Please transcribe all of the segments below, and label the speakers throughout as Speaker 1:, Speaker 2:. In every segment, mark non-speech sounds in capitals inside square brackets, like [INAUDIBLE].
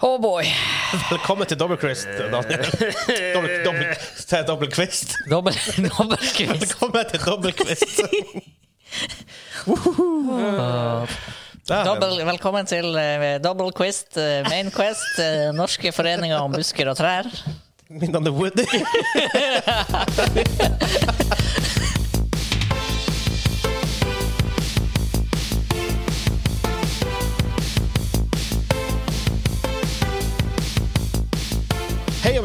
Speaker 1: Oh boy.
Speaker 2: Velkommen til Dobbelkvist, Daniel. Dobbel, dobbel, til dobbelkvist.
Speaker 1: Dobbel,
Speaker 2: [LAUGHS]
Speaker 1: dobbelkvist.
Speaker 2: Velkommen til Dobbelkvist.
Speaker 1: Dobbel, velkommen til eh, Double Quist, eh, Main Quest, eh, Norske foreninger om busker og trær.
Speaker 2: Minnende Woody. [LAUGHS] Hei og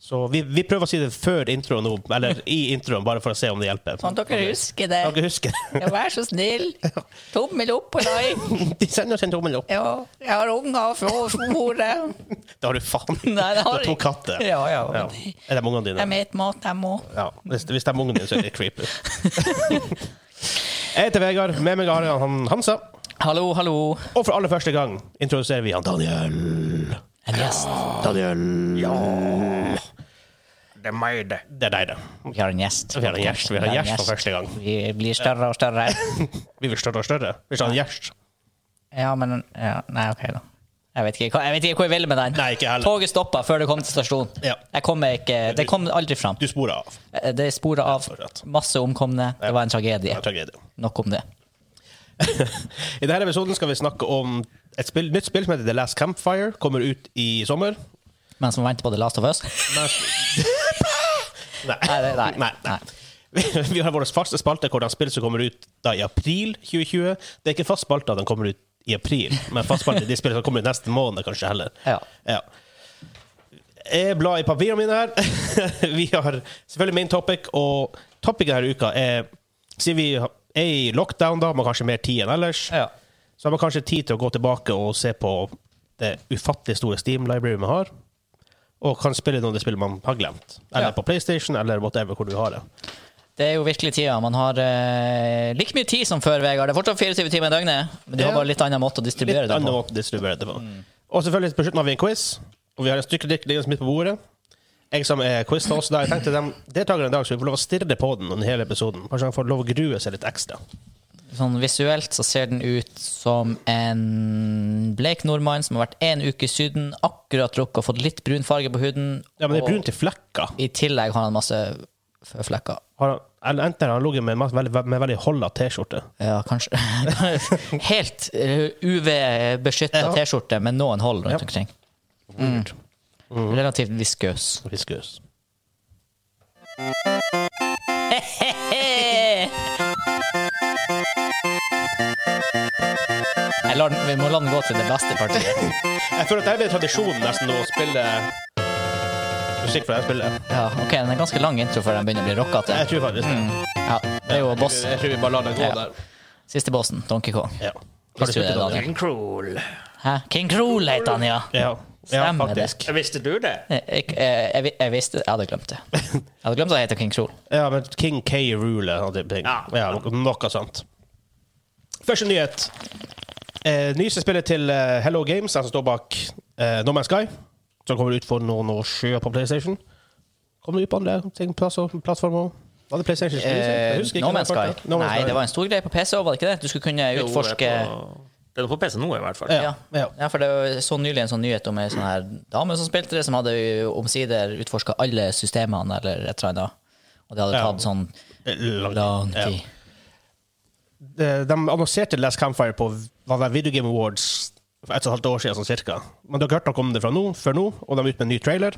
Speaker 2: Så vi, vi prøver å si det før introen nå, eller i introen, bare for å se om det hjelper.
Speaker 1: Sånn at dere husker det.
Speaker 2: Dere husker det.
Speaker 1: Ja, vær så snill. Tommel opp på like.
Speaker 2: [LAUGHS] De sender oss en tommel opp.
Speaker 1: Ja, jeg har unger fra sporet.
Speaker 2: Det har du
Speaker 1: [LAUGHS]
Speaker 2: faen ikke.
Speaker 1: Nei, det har
Speaker 2: Du to
Speaker 1: jeg.
Speaker 2: katter.
Speaker 1: Ja, ja.
Speaker 2: Ja. Er det ungene dine?
Speaker 1: Jeg vet mat, jeg må.
Speaker 2: Ja. Hvis, hvis det er ungene dine, så er
Speaker 1: [LAUGHS]
Speaker 2: det creepy. Jeg heter Vegard. Med meg har jeg han Hansa.
Speaker 1: Hallo, hallo.
Speaker 2: Og for aller første gang introduserer vi han Daniel.
Speaker 1: En gjest.
Speaker 2: Daniel.
Speaker 3: Det er meg, det.
Speaker 2: Det er deg, det.
Speaker 1: Vi har en gjest.
Speaker 2: Vi har en gjest. Vi har en gjest for første gang. [LAUGHS]
Speaker 1: Vi blir større og større.
Speaker 2: Vi blir større og større. Vi skal ha en gjest.
Speaker 1: Ja, men ja, Nei, OK, da. Jeg vet, ikke, hva- jeg vet ikke hvor jeg ville med den.
Speaker 2: Nei, ikke heller.
Speaker 1: Toget stoppa før det kom til stasjonen.
Speaker 2: Ja.
Speaker 1: Jeg kom meg ikke, det kom aldri fram.
Speaker 2: Du sporer av.
Speaker 1: Eh, Det sporet av
Speaker 2: og slett.
Speaker 1: masse omkomne. Det var en
Speaker 2: Det
Speaker 1: tragedie.
Speaker 2: er tragedie.
Speaker 1: Nok om det.
Speaker 2: I denne episoden skal vi snakke om et spill, nytt spill som heter The Last Campfire. Kommer ut i sommer.
Speaker 1: Men som venter på The Last of Us.
Speaker 2: Nei.
Speaker 1: Nei, det- nei,
Speaker 2: nei, nei. Vi har vår faste spalte hvor det er spill som kommer ut da i april 2020. Det er ikke fast spalte at den kommer ut i april, men fast spalte er de spillene som kommer ut neste måned, kanskje heller.
Speaker 1: Ja.
Speaker 2: Ja. Jeg blar i papirene mine her. [LAUGHS] Vi har selvfølgelig main topic, og topicen denne uka er Siden vi er i lockdown, da, man har kanskje mer tid enn ellers,
Speaker 1: Ja.
Speaker 2: så har man kanskje tid til å gå tilbake og se på det ufattelig store Steam-library man har, og kan spille noen av de spillene man har glemt. Eller
Speaker 1: Ja.
Speaker 2: på PlayStation, eller whatever hvor du har det.
Speaker 1: Det er jo virkelig tida. Man har eh, like mye tid som før, Vegard. Det er fortsatt 24 timer i døgnet, men du har
Speaker 2: Ja.
Speaker 1: bare litt annen måte å distribuere
Speaker 2: Litt
Speaker 1: det
Speaker 2: annen
Speaker 1: på.
Speaker 2: måte å distribuere det på.
Speaker 1: Mm.
Speaker 2: Og selvfølgelig på slutten har vi en quiz, og vi har en stykke drikk liggende midt på bordet. Jeg som er quiz-host der, jeg tenkte dem deltakerne i dag skulle få lov å stirre på den under hele episoden. Kanskje han får lov å grue seg litt ekstra.
Speaker 1: Sånn Visuelt så ser den ut som en blek nordmann som har vært én uke i Syden, akkurat rukket å få litt brun farge på huden.
Speaker 2: Ja, men det
Speaker 1: og
Speaker 2: er brunt i flekker.
Speaker 1: I tillegg har han masse flekker.
Speaker 2: Har han, eller enten har han ligget med en masse- veldig, med veldig holda T-skjorte.
Speaker 1: Ja, kanskje. [LAUGHS] Helt UV-beskytta
Speaker 2: Ja.
Speaker 1: T-skjorte med noen hold rundt
Speaker 2: Ja. Mhm.
Speaker 1: omkring. Mm. Relativt viskøs.
Speaker 2: Viskus.
Speaker 1: Eh. Jeg lar, den- vi må la den gå til det beste partiet.
Speaker 2: Jeg føler at det blir tradisjonen nesten å spille musikk fra det spillet.
Speaker 1: Ja, ok, Den er ganske lang intro før den begynner å bli rocka
Speaker 2: Jeg
Speaker 1: til.
Speaker 2: tror faktisk det.
Speaker 1: Ja, det er jo boss.
Speaker 2: Jeg tror vi bare lar det gå
Speaker 1: Ja.
Speaker 2: der.
Speaker 1: Siste bossen, Donkey Kong.
Speaker 2: Ja. Har
Speaker 1: Visste
Speaker 2: du
Speaker 1: du
Speaker 2: spilt
Speaker 1: det,
Speaker 2: det, Daniel?
Speaker 1: Daniel?
Speaker 3: King Cruel.
Speaker 1: Hæ? King Krool heter han, ja.
Speaker 2: Ja. ja,
Speaker 1: Stemmer det.
Speaker 2: faktisk.
Speaker 3: Visste du det?
Speaker 1: Jeg, jeg, jeg, vi- jeg visste Jeg hadde glemt det. Jeg hadde glemt at han heter King Krool.
Speaker 2: Ja, men King K. Rule og type ting. Ja.
Speaker 3: Ja.
Speaker 2: noe, noe sånt. Første nyhet. Eh, nyeste spillet til eh, Hello Games, den som står bak eh, No Man's Sky, som kommer ut for noen år siden på PlayStation. Kommer det ut på andre ting, plass og plattformer? Var det PlayStation?
Speaker 1: Eh,
Speaker 2: Jeg husker ikke
Speaker 1: no
Speaker 2: hva
Speaker 1: Man's
Speaker 2: det var.
Speaker 1: Sky. Nei, det var en stor greie på PC òg, var det ikke det? Du skulle kunne
Speaker 3: Jo,
Speaker 1: utforske
Speaker 3: det er på- Det er på PC nå, i hvert fall.
Speaker 1: Ja.
Speaker 2: Ja.
Speaker 1: ja, for det var jo så nylig en sån nyhet om ei sånn her dame som spilte det, som hadde jo omsider utforska alle systemene eller et eller annet. Og det hadde
Speaker 2: Ja.
Speaker 1: tatt sånn
Speaker 2: Lang-
Speaker 1: lang tid.
Speaker 2: Ja. De, eh, de annonserte Last Campfire på hva det er, Video Game Awards for et og et halvt år siden, sånn cirka. Men dere har hørt noe om det fra nå, før nå, og de er ute med en ny trailer.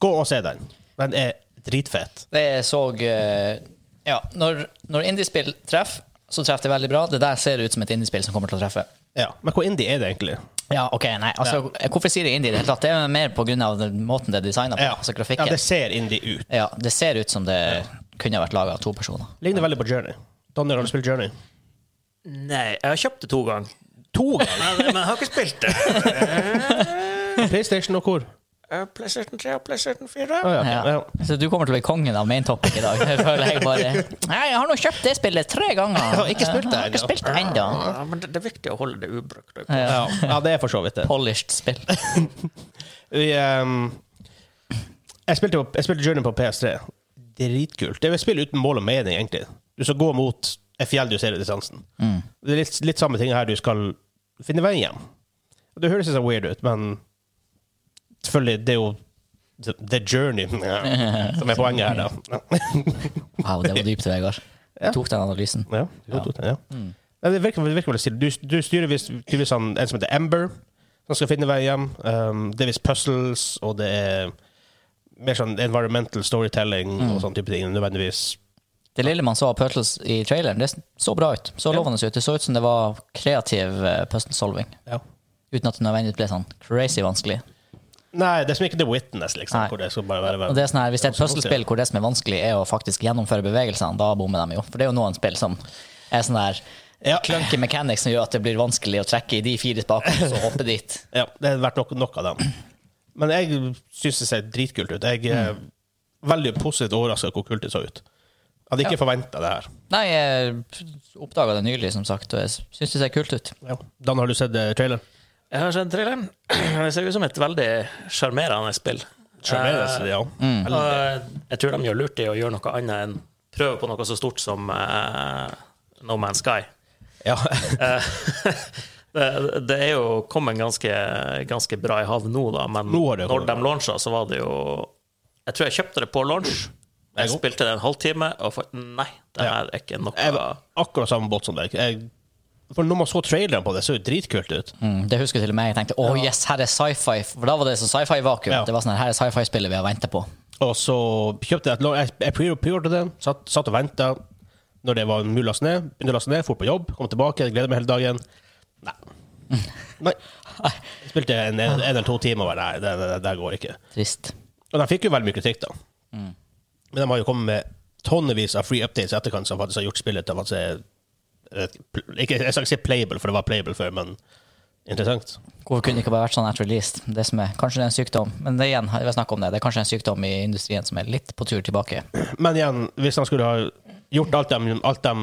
Speaker 2: Gå og se den. Den er dritfet.
Speaker 1: Det jeg så eh, Ja, når, når indiespill treffer, så treffer det veldig bra. Det der ser ut som et indiespill som kommer til å treffe.
Speaker 2: Ja. Men hvor indie er det egentlig?
Speaker 1: Ja, ok, nei, altså Hvorfor sier jeg indie i det hele tatt? Det er jo mer på grunn av den måten det er designa på. Altså grafikken.
Speaker 2: ja, det ser indie ut.
Speaker 1: Ja, det ser ut som det kunne vært laga av to personer.
Speaker 2: Ligner veldig på Journey. Daniel, har du spilt Journey?
Speaker 3: Nei, jeg har kjøpt det to ganger.
Speaker 2: To ganger!
Speaker 3: Men men jeg har ikke spilt det.
Speaker 2: PlayStation og hvor?
Speaker 3: [LAUGHS] eh, PlayStation 3 og PlayStation 4.
Speaker 2: Ah, ja, ok,
Speaker 1: Ja.
Speaker 2: ja.
Speaker 1: Så du kommer til å bli kongen av main topic i dag. [LAUGHS] Det føler jeg bare Nei, jeg har nå kjøpt det spillet tre ganger. Jeg
Speaker 2: har ikke spilt det
Speaker 1: Jeg har ikke
Speaker 2: ennå.
Speaker 1: spilt det ennå.
Speaker 3: Ja, men det, det er viktig å holde det ubrukt.
Speaker 1: Ja.
Speaker 2: Ja. ja, det er for så vidt det.
Speaker 1: Polished spill.
Speaker 2: Vi, ehm, jeg, spilte på, jeg spilte Journey på PS3. Dritkult. Det er et spill uten mål og mening, egentlig. Du skal gå mot et fjell du ser i distansen. Det er litt, litt samme ting her. Du skal finne veien hjem. Og Det høres litt sånn weird ut, men selvfølgelig, det er jo the, the journey [LAUGHS] ja, som er poenget her, da.
Speaker 1: Wow, det var dypt, Vegard. Du tok den analysen.
Speaker 2: Ja, jo, to- ja. Nei, det virker, det virker veldig stille. Du, du styrer visst tydeligvis han, en som heter Amber, som skal finne vei hjem. Um, det er visst puzzles, og det er mer sånn environmental storytelling
Speaker 1: Mm.
Speaker 2: og sånne type ting. Nødvendigvis.
Speaker 1: Det lille man så av puzzles i traileren, det så bra ut. Så lovende ut. Det så ut som det var kreativ eh, puzzle solving.
Speaker 2: Ja.
Speaker 1: Uten at det nødvendigvis ble sånn crazy vanskelig.
Speaker 2: Nei, det er som ikke The Witness, liksom.
Speaker 1: Nei.
Speaker 2: Hvor det skal bare være
Speaker 1: Og det er sånn her, Hvis det er et
Speaker 2: Ja, så-
Speaker 1: puslespill hvor det som er vanskelig, er å faktisk gjennomføre bevegelsene, da bommer de jo. For det er jo noen spill som er sånn der
Speaker 2: Ja.
Speaker 1: clunky mechanics som gjør at det blir vanskelig å trekke i de fire spakene og så hoppe dit.
Speaker 2: Ja, det har vært nok, nok av dem. Men jeg syns det ser dritkult ut. Jeg er
Speaker 1: Mm.
Speaker 2: veldig positivt overraska hvor kult det så ut. Jeg hadde ikke forventet det her.
Speaker 1: Nei, jeg oppdaga det nylig, som sagt, og jeg syns det ser kult ut.
Speaker 2: Dan, har du sett eh, traileren?
Speaker 3: Jeg har sett traileren. [CLEARS THROAT] Det ser ut som et veldig sjarmerende spill.
Speaker 2: Sjarmerende, ja.
Speaker 3: Eh, og jeg tror de gjør lurt i å gjøre noe annet enn prøve på noe så stort som eh, No Man's Sky.
Speaker 2: ja.
Speaker 3: [LAUGHS] Eh, det, det er jo kommet ganske, ganske bra i havn nå, da, men
Speaker 2: Nå har det
Speaker 3: når
Speaker 2: kommet
Speaker 3: de launcha, så var det jo Jeg tror jeg kjøpte det på launch. Jeg
Speaker 2: Jeg også.
Speaker 3: spilte det en halvtime, og for, nei, det
Speaker 2: Ja.
Speaker 3: her er ikke noe
Speaker 2: Jeg var akkurat samme båt som deg. Jeg, for når man så traileren på det, så jo det dritkult ut.
Speaker 1: Mm, det husker jeg til og med. Jeg tenkte å yes, her er sci-fi. For da var det sånn sci-fi-vakuum.
Speaker 2: Ja.
Speaker 1: Det var sånn her, her er sci-fi-spillet vi har venta på.
Speaker 2: Og så kjøpte jeg et lån. Jeg, jeg pre- preordret det, satt, satt og venta når det var mulig å laste ned. Begynte å laste ned, for på jobb, kom tilbake, gleda meg hele dagen. Nei. Nei. Jeg spilte en, en, en eller to timer og bare nei, det, det, det går ikke.
Speaker 1: Trist.
Speaker 2: Og de fikk jo veldig mye kritikk, da. Men de har jo kommet med tonnevis av free updates i etterkant som faktisk har gjort spillet til å faktisk er- eh, ikke, Jeg skal ikke si playable, for det var playable før, men interessant.
Speaker 1: Hvorfor kunne det ikke bare vært sånn at released? Det som er, kanskje det er en sykdom, men det er igjen, vi har snakket om det. Det er kanskje en sykdom i industrien som er litt på tur tilbake.
Speaker 2: Men igjen, hvis han skulle ha gjort alt de, alt de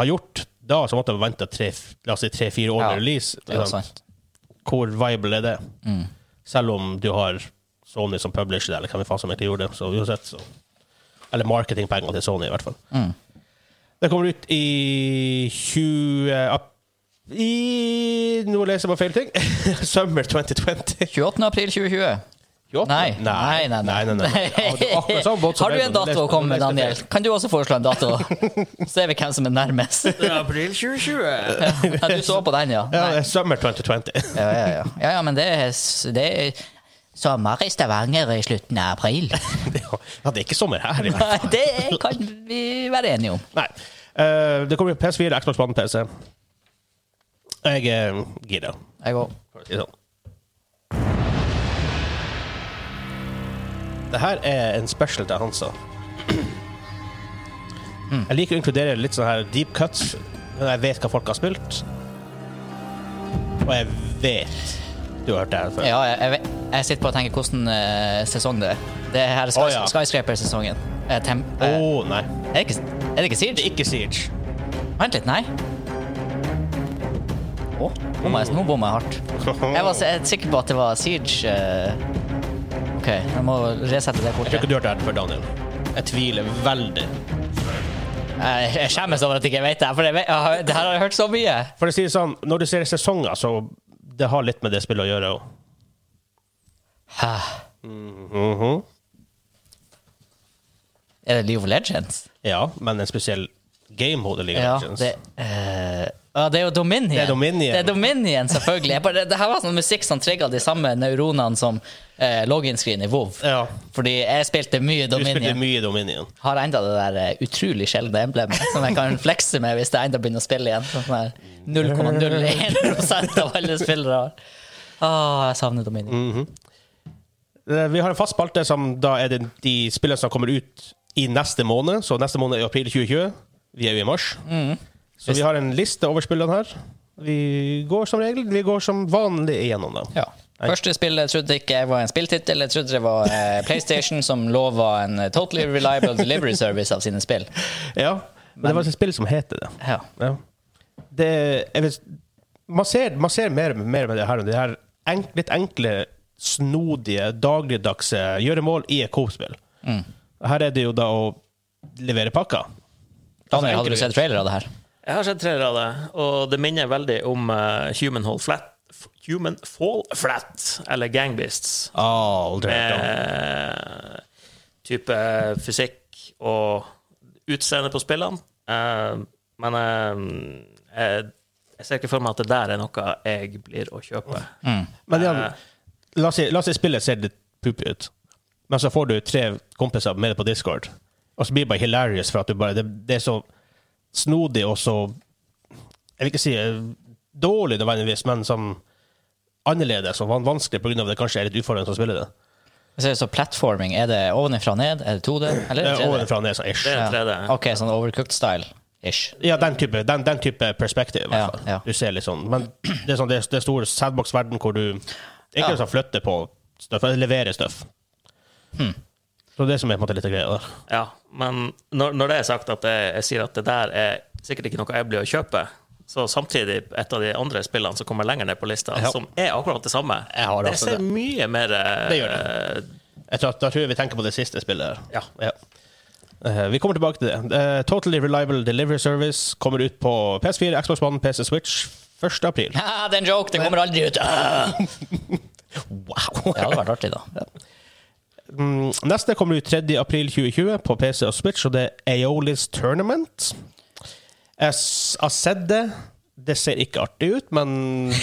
Speaker 2: har gjort, da så måtte de vente tre- la oss si tre-fire år
Speaker 1: Ja,
Speaker 2: med release.
Speaker 1: Det er jo
Speaker 2: ikke sant?
Speaker 1: sant. Mm.
Speaker 2: Hvor viable er det? Selv om du har Sony som publisher, det, eller hvem faen som egentlig gjorde det. Så uansett, så. Eller marketingpenger til Sony, i hvert fall.
Speaker 1: Mm.
Speaker 2: Det kommer ut i 20... ap- I Nå leser jeg bare feil ting. [LAUGHS] Summer 2020.
Speaker 1: 28. april 2020.
Speaker 2: Jo.
Speaker 1: Nei. Nei, nei, nei. [LAUGHS]
Speaker 2: nei, nei. Ja, det er akkurat samme båt som
Speaker 1: Har du
Speaker 2: jeg,
Speaker 1: en
Speaker 2: men
Speaker 1: dato å
Speaker 2: les-
Speaker 1: komme med,
Speaker 2: les det
Speaker 1: Daniel?
Speaker 2: feil.
Speaker 1: Kan du også foreslå en
Speaker 2: [LAUGHS]
Speaker 1: dato? Så ser vi hvem som er nærmest.
Speaker 3: April 2020!
Speaker 1: Ja, du så på den, ja?
Speaker 2: Ja,
Speaker 1: Nei.
Speaker 2: det er Summer
Speaker 1: [LAUGHS]
Speaker 2: 2020.
Speaker 1: Ja, ja, ja. ja, ja men det er, s- det er sommer i Stavanger i slutten av [LAUGHS] april.
Speaker 2: ja, det er ikke sommer her, i hvert fall.
Speaker 1: Nei, Det kan vi være enige om.
Speaker 2: Nei. Eh, det kommer jo PS4, Xbox One, PC. Jeg eh, er gira.
Speaker 1: Jeg òg.
Speaker 2: for å si det Sånn. Det her er en special til Hansa.
Speaker 1: Mm.
Speaker 2: Jeg liker å inkludere litt sånne her deep cuts. Men jeg vet hva folk har spilt. Og jeg vet du har hørt det her før.
Speaker 1: Ja, jeg, jeg, vet- jeg sitter på og tenker hvordan eh, sesong det er. Det er her er
Speaker 2: Å,
Speaker 1: Sky,
Speaker 2: ja.
Speaker 1: Skyscraper-sesongen. Eh, tem-
Speaker 2: Å,
Speaker 1: eh,
Speaker 2: nei.
Speaker 1: er, det ikke, er det ikke Siege?
Speaker 2: Ikke Siege.
Speaker 1: Vent litt, nei. Å, bomma jeg, nå bomma jeg hardt. Jeg var s- jeg er sikker på at det var Siege eh. OK, jeg må resette det
Speaker 2: Jeg tror
Speaker 1: kortet.
Speaker 2: ikke du har hørt det her før, Daniel. Jeg tviler veldig.
Speaker 1: Jeg, jeg skjemmes over at jeg ikke vet det, her, for jeg vet, jeg har, det her har jeg hørt så mye.
Speaker 2: For å si det sånn, når du ser sesonger, så det har litt med det spillet å gjøre òg.
Speaker 1: Hæ? Mhm. Er det League of Legends?
Speaker 2: Ja, men en spesiell gamehode ligger
Speaker 1: Ja,
Speaker 2: Legends.
Speaker 1: det, eh, ja, det er jo Dominion.
Speaker 2: Det er Dominion.
Speaker 1: Det er Dominion, selvfølgelig. Jeg Bare, det her var sånn musikk som trigga de samme neuronene som eh, login-screen i WoW.
Speaker 2: Ja.
Speaker 1: Fordi jeg spilte mye
Speaker 2: Du spilte
Speaker 1: Dominion.
Speaker 2: mye Dominion.
Speaker 1: Har enda det der eh, utrolig sjeldne emblemet som jeg kan flekse med hvis jeg enda begynner å spille igjen. Sånn her 0,01 av alle spillere har. Åh, jeg savner
Speaker 2: Mm.
Speaker 1: Dominion.
Speaker 2: Eh, Vi har en fast spalte som da er det de spillene som kommer ut i neste måned. Så neste måned er april 2020. Vi er jo i mars.
Speaker 1: Mhm.
Speaker 2: Så vi har en liste over spillene her. Vi går som regel Vi går som vanlig igjennom dem.
Speaker 1: Ja. Første spillet trodde ikke jeg var en spilltittel. Jeg trodde det var eh, PlayStation som lova en eh, totally reliable delivery service av sine spill.
Speaker 2: Ja, men det var et spill som heter det.
Speaker 1: Ja.
Speaker 2: Ja. Det, jeg vet, man, ser, man ser mer, mer med det her. Det her enk, litt enkle, snodige, dagligdagse gjøremål i et Coop-spill.
Speaker 1: Mm.
Speaker 2: Her er det jo da å levere pakker. Altså,
Speaker 1: Daniel, hadde du sett trailer av det her?
Speaker 3: [LAUGHS] Jeg har sett trailer av det, og det minner veldig om eh, Human, Hall Flat, F- Human Fall Flat, eller Gangbeasts.
Speaker 2: Aldri. hørt om.
Speaker 3: Med Eh, type fysikk og utseende på spillene. Eh, men eh, jeg, jeg ser ikke for meg at det der er noe jeg blir å kjøpe.
Speaker 2: Mm. Men ja,
Speaker 3: Eh.
Speaker 2: la oss si, la oss si spillet ser litt pup ut, men så får du tre kompiser med deg på Discord, og så blir det bare hilarious for at du bare Det, det er så snodig og så Jeg vil ikke si eh, dårlig nødvendigvis, men sånn annerledes og van- vanskelig pga. at det kanskje er litt utfordrende å spille det.
Speaker 1: Så er det så platforming. Er det ovenfra og ned? Er det 2D? Eller
Speaker 2: Det
Speaker 1: er det
Speaker 2: er
Speaker 1: 3D?
Speaker 2: ovenfra og ned, sånn ish.
Speaker 3: Det er en 3D.
Speaker 1: Ja. Ok, sånn overcooked style ish. [LAUGHS]
Speaker 2: Ja, den type, den, den type perspektiv, i
Speaker 1: Ja,
Speaker 2: hvert fall.
Speaker 1: ja.
Speaker 2: Du ser litt sånn. Men [CLEARS THROAT] det er sånn, det, er- det er stor sandbox-verden hvor du
Speaker 1: Ja.
Speaker 2: ikke liksom flytter på støff, eller leverer støff.
Speaker 1: Hmm.
Speaker 2: Så det er det som er på en måte litt av greia der.
Speaker 3: Ja, men når, når det er sagt at jeg, jeg sier at det der er sikkert ikke noe jeg blir å kjøpe, så samtidig et av de andre spillene som kommer lenger ned på lista,
Speaker 2: Ja.
Speaker 3: som er akkurat det samme,
Speaker 2: Jeg har det også
Speaker 3: ser
Speaker 2: det.
Speaker 3: mye mer eh,
Speaker 2: Det Jeg tror, da tror jeg vi tenker på det siste spillet. her.
Speaker 3: Ja.
Speaker 2: Eh, vi kommer tilbake til det. Eh, totally Reliable Delivery Service kommer ut på PS4, Xbox One, PC Switch 1. april.
Speaker 1: Ah, det er en joke! Det kommer aldri ut! [LAUGHS] Ah!
Speaker 2: Wow!
Speaker 1: [LAUGHS] Det hadde vært artig, da.
Speaker 2: Mm, neste kommer ut 3. april 2020 på PC og Switch, og det er Aeolis Tournament. Jeg s- har sett det. Det ser ikke artig ut, men [LAUGHS]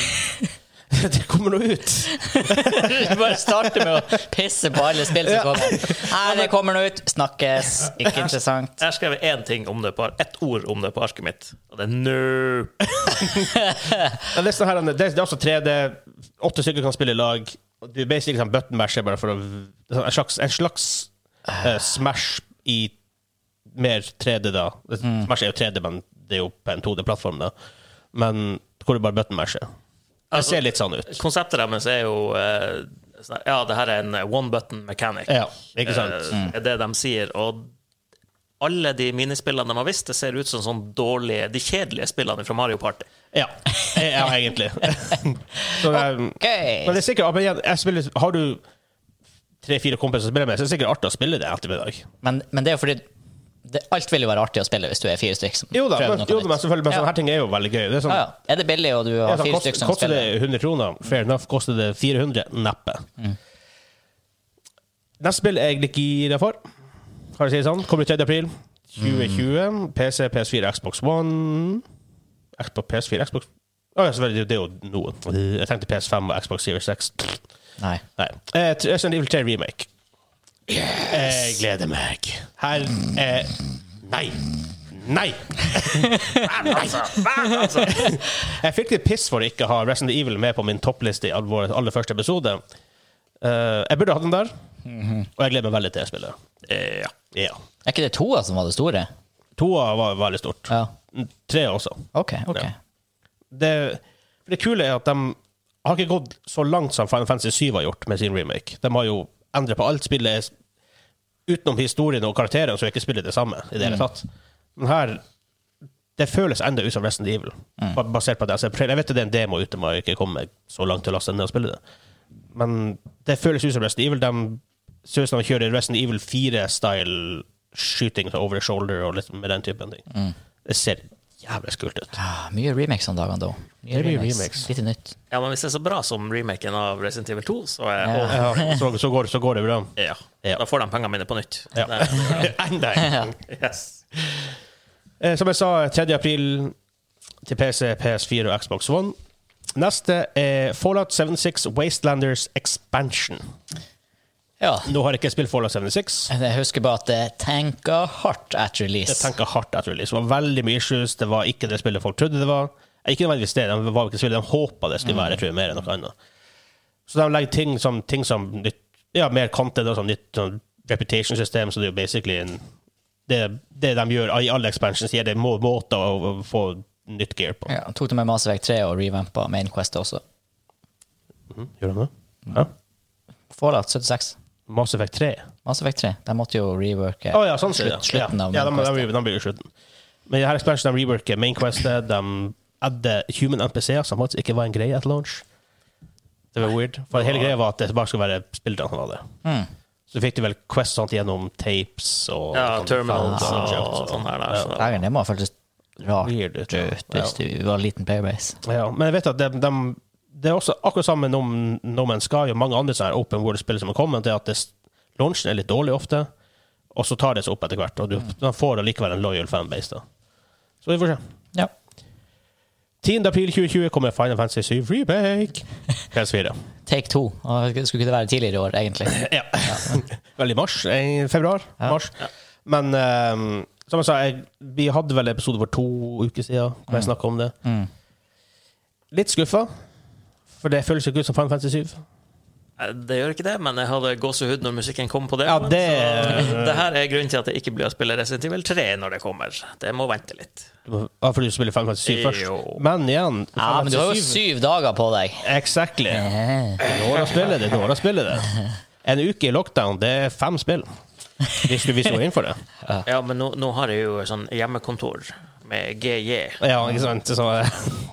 Speaker 2: det kommer nå ut.
Speaker 1: Du bare starter med å pisse på alle spill som kommer. Nei, det kommer noe ut. Snakkes. Ikke interessant.
Speaker 3: Jeg har skrevet én ting om det på, ett ord om det på arket mitt, og det er no.
Speaker 2: Men det, er sånn her, det, er, det er også 3D. Åtte stykker kan spille i lag. og Du er basically sånn button masher bare for å det er sånn En slags, en slags eh, Smash i mer 3D, da. Smash er jo 3D, men det er jo på en 2D-plattform, da. Men hvor du bare button masher. Det
Speaker 3: Altså-
Speaker 2: ser litt sånn ut.
Speaker 3: Konseptet deres er jo eh, sånn her, Ja, det her er en one button mechanic.
Speaker 2: Ja, ikke sant? Mm.
Speaker 3: Eh, er det de sier. Og alle de minispillene de har vist, det ser ut som sånn dårlige, de kjedelige spillene fra Mario Party.
Speaker 2: Ja, ja egentlig. [LAUGHS] Så, um, Men det er sikkert, men igjen, jeg spiller, har du tre-fire kompiser som spiller med, så er det sikkert artig å spille det ettermiddag.
Speaker 1: Men, men det er jo fordi det, alt vil jo være artig å spille hvis du er fire stykker. som
Speaker 2: Jo da,
Speaker 1: prøver
Speaker 2: men,
Speaker 1: noe
Speaker 2: jo, da,
Speaker 1: nytt.
Speaker 2: men selvfølgelig, men
Speaker 1: Ja.
Speaker 2: sånne her ting er jo veldig gøy. Det er sånn,
Speaker 1: Ja, ja. Er det billig, og du har
Speaker 2: Ja, så
Speaker 1: fire
Speaker 2: kost,
Speaker 1: stykker som
Speaker 2: koster
Speaker 1: spiller?
Speaker 2: det 100 kroner, fair enough. Koster det 400, neppe. Neste spill er jeg litt gira for. Kan jeg si det sånn? Kommer ut 3. april 2020. PC, PS4, Xbox One Xbox, PS4, Xbox Å ja, selvfølgelig. Det er jo noe. Jeg tenkte PS5 og Xbox Series 6.
Speaker 1: Nei.
Speaker 2: Nei. Eh, t- Resident Evil 3 Remake. Jeg gleder meg. Her er Nei! Nei!
Speaker 3: Altså,
Speaker 2: Jeg fikk litt piss for å ikke ha Resident Evil med på min toppliste i all vår aller første episode. Eh, jeg burde hatt den der, og jeg gleder meg veldig til det spillet.
Speaker 3: eh, ja.
Speaker 2: Ja.
Speaker 1: Er ikke det toa som var det store?
Speaker 2: Toa var veldig stort.
Speaker 1: Ja.
Speaker 2: Tre også.
Speaker 1: Ok, ok.
Speaker 2: Ja. Det, for det kule er at de har ikke gått så langt som Final Fantasy 7 har gjort med sin remake. De har jo endret på alt spillet er- utenom historien og karakterene, så er ikke spillet det samme i det hele tatt. Men her Det føles enda ut som Resident Evil, ba- basert på det. jeg ser på trailer. Jeg vet jo det er en demo ute, men jeg har ikke kommet så langt til å laste den ned og spille det. Men det føles ut som Resident Evil. De ser ut som de kjører Resident Evil 4-style skyting så over the shoulder og litt med den typen ting. Det ser jævlig skult ut.
Speaker 1: Ah, mye remakes om dagene da.
Speaker 2: Det er mye remakes.
Speaker 1: Litt nytt.
Speaker 3: ja, men hvis det er så bra som remaken av Resident Evil 2, så er ja.
Speaker 2: Ja, så, så, går, så går det bra.
Speaker 3: ja.
Speaker 2: Ja.
Speaker 3: Da får de pengene mine på nytt.
Speaker 2: Ja.
Speaker 3: Det-
Speaker 2: [LAUGHS] Enda en gang.
Speaker 3: Yes.
Speaker 2: Eh, Som jeg sa, 3. april til PC, PS4 og Xbox One. Neste er Fallout 76 Wastelanders Expansion.
Speaker 1: Ja.
Speaker 2: Nå har jeg ikke spilt Fallout 76.
Speaker 1: Jeg husker bare at det tenker hardt at
Speaker 2: Jeg
Speaker 1: release.
Speaker 2: tenker hardt etter release. Det var veldig mye issues. Det var ikke det spillet folk trodde det var. Eh, Ikke nødvendigvis det, de var ikke spillet de håpa det skulle være, jeg tror jeg, mer enn noe annet. Så de legger ting som, ting som nytt, ja, mer content og sånn nytt sånn reputation-system, så det er jo basically en det, det de gjør i alle expansions, gir det må, måter å, å få nytt gear på.
Speaker 1: Ja, tok det med Mass Effect 3 og revampa Main Quest også.
Speaker 2: Gjør de det?
Speaker 1: Fallout 76.
Speaker 2: Mass Effect 3.
Speaker 1: Mass Effect 3. De måtte jo reworke
Speaker 2: Å ja, sånn ser det.
Speaker 1: slutt, slutten
Speaker 2: ja.
Speaker 1: av
Speaker 2: ja, de,
Speaker 1: Main Quest.
Speaker 2: de, de, de blir jo slutten. Men i her expansion de reworker Main Questet. De adder human NPC-er, som faktisk ikke var en greie at launch. Det var weird. For hele greia var at det bare skulle være spillerne som hadde det.
Speaker 1: Mm.
Speaker 2: Så fikk de vel Quest sant, gjennom tapes og
Speaker 3: Ja,
Speaker 2: sånn
Speaker 3: terminals
Speaker 2: fans
Speaker 3: og,
Speaker 2: shit,
Speaker 3: sånn her.
Speaker 2: Ja.
Speaker 3: Der,
Speaker 1: Dæven, det må ha føltes rart
Speaker 2: Weird ut.
Speaker 1: ut hvis
Speaker 2: Ja.
Speaker 1: du var en liten playerbase.
Speaker 2: ja, men jeg vet at de, de, det er også akkurat samme med No- No Man's Sky og mange andre sånne her open world-spill som har kommet, det er at det, launchen er litt dårlig ofte, og så tar det seg opp etter hvert, og du
Speaker 1: Hmm.
Speaker 2: man får allikevel en loyal fanbase. da. Så vi får se.
Speaker 1: Ja.
Speaker 2: 10. april 2020 kommer Final Fantasy 7 Remake. PS4.
Speaker 1: Take two. Og det skulle ikke være tidligere i år, egentlig.
Speaker 2: [CLEARS THROAT] [LAUGHS] Ja. Vel i mars? I februar? Mars. Men ehm, som jeg sa, jeg, vi hadde vel episode for to uker siden hvor jeg snakket om det.
Speaker 1: Mm.
Speaker 2: Litt skuffa, for det føles ikke ut som Final Fantasy 7.
Speaker 3: det gjør ikke det, men jeg hadde gåsehud når musikken kom på det.
Speaker 2: Ja,
Speaker 3: men
Speaker 2: det-
Speaker 3: så, det her er grunnen til at jeg ikke blir å spille Resident Evil 3 når det kommer. Det må vente litt.
Speaker 2: Du må- Ja, fordi eh, du spiller Final Fantasy 7 først.
Speaker 3: Jo.
Speaker 2: Men igjen
Speaker 1: Ja,
Speaker 2: Final
Speaker 1: men du har jo
Speaker 2: Fantasy 7
Speaker 1: syv dager på deg.
Speaker 2: Exactly. Det
Speaker 1: Eh,
Speaker 2: er Når å spille det, det er når å spille det. En uke i lockdown, det er fem spill. Hvis du vil stå inn for det.
Speaker 3: Ja, men nå, nå har jeg jo sånn hjemmekontor med GJ.
Speaker 2: Ja, ikke sant? Så,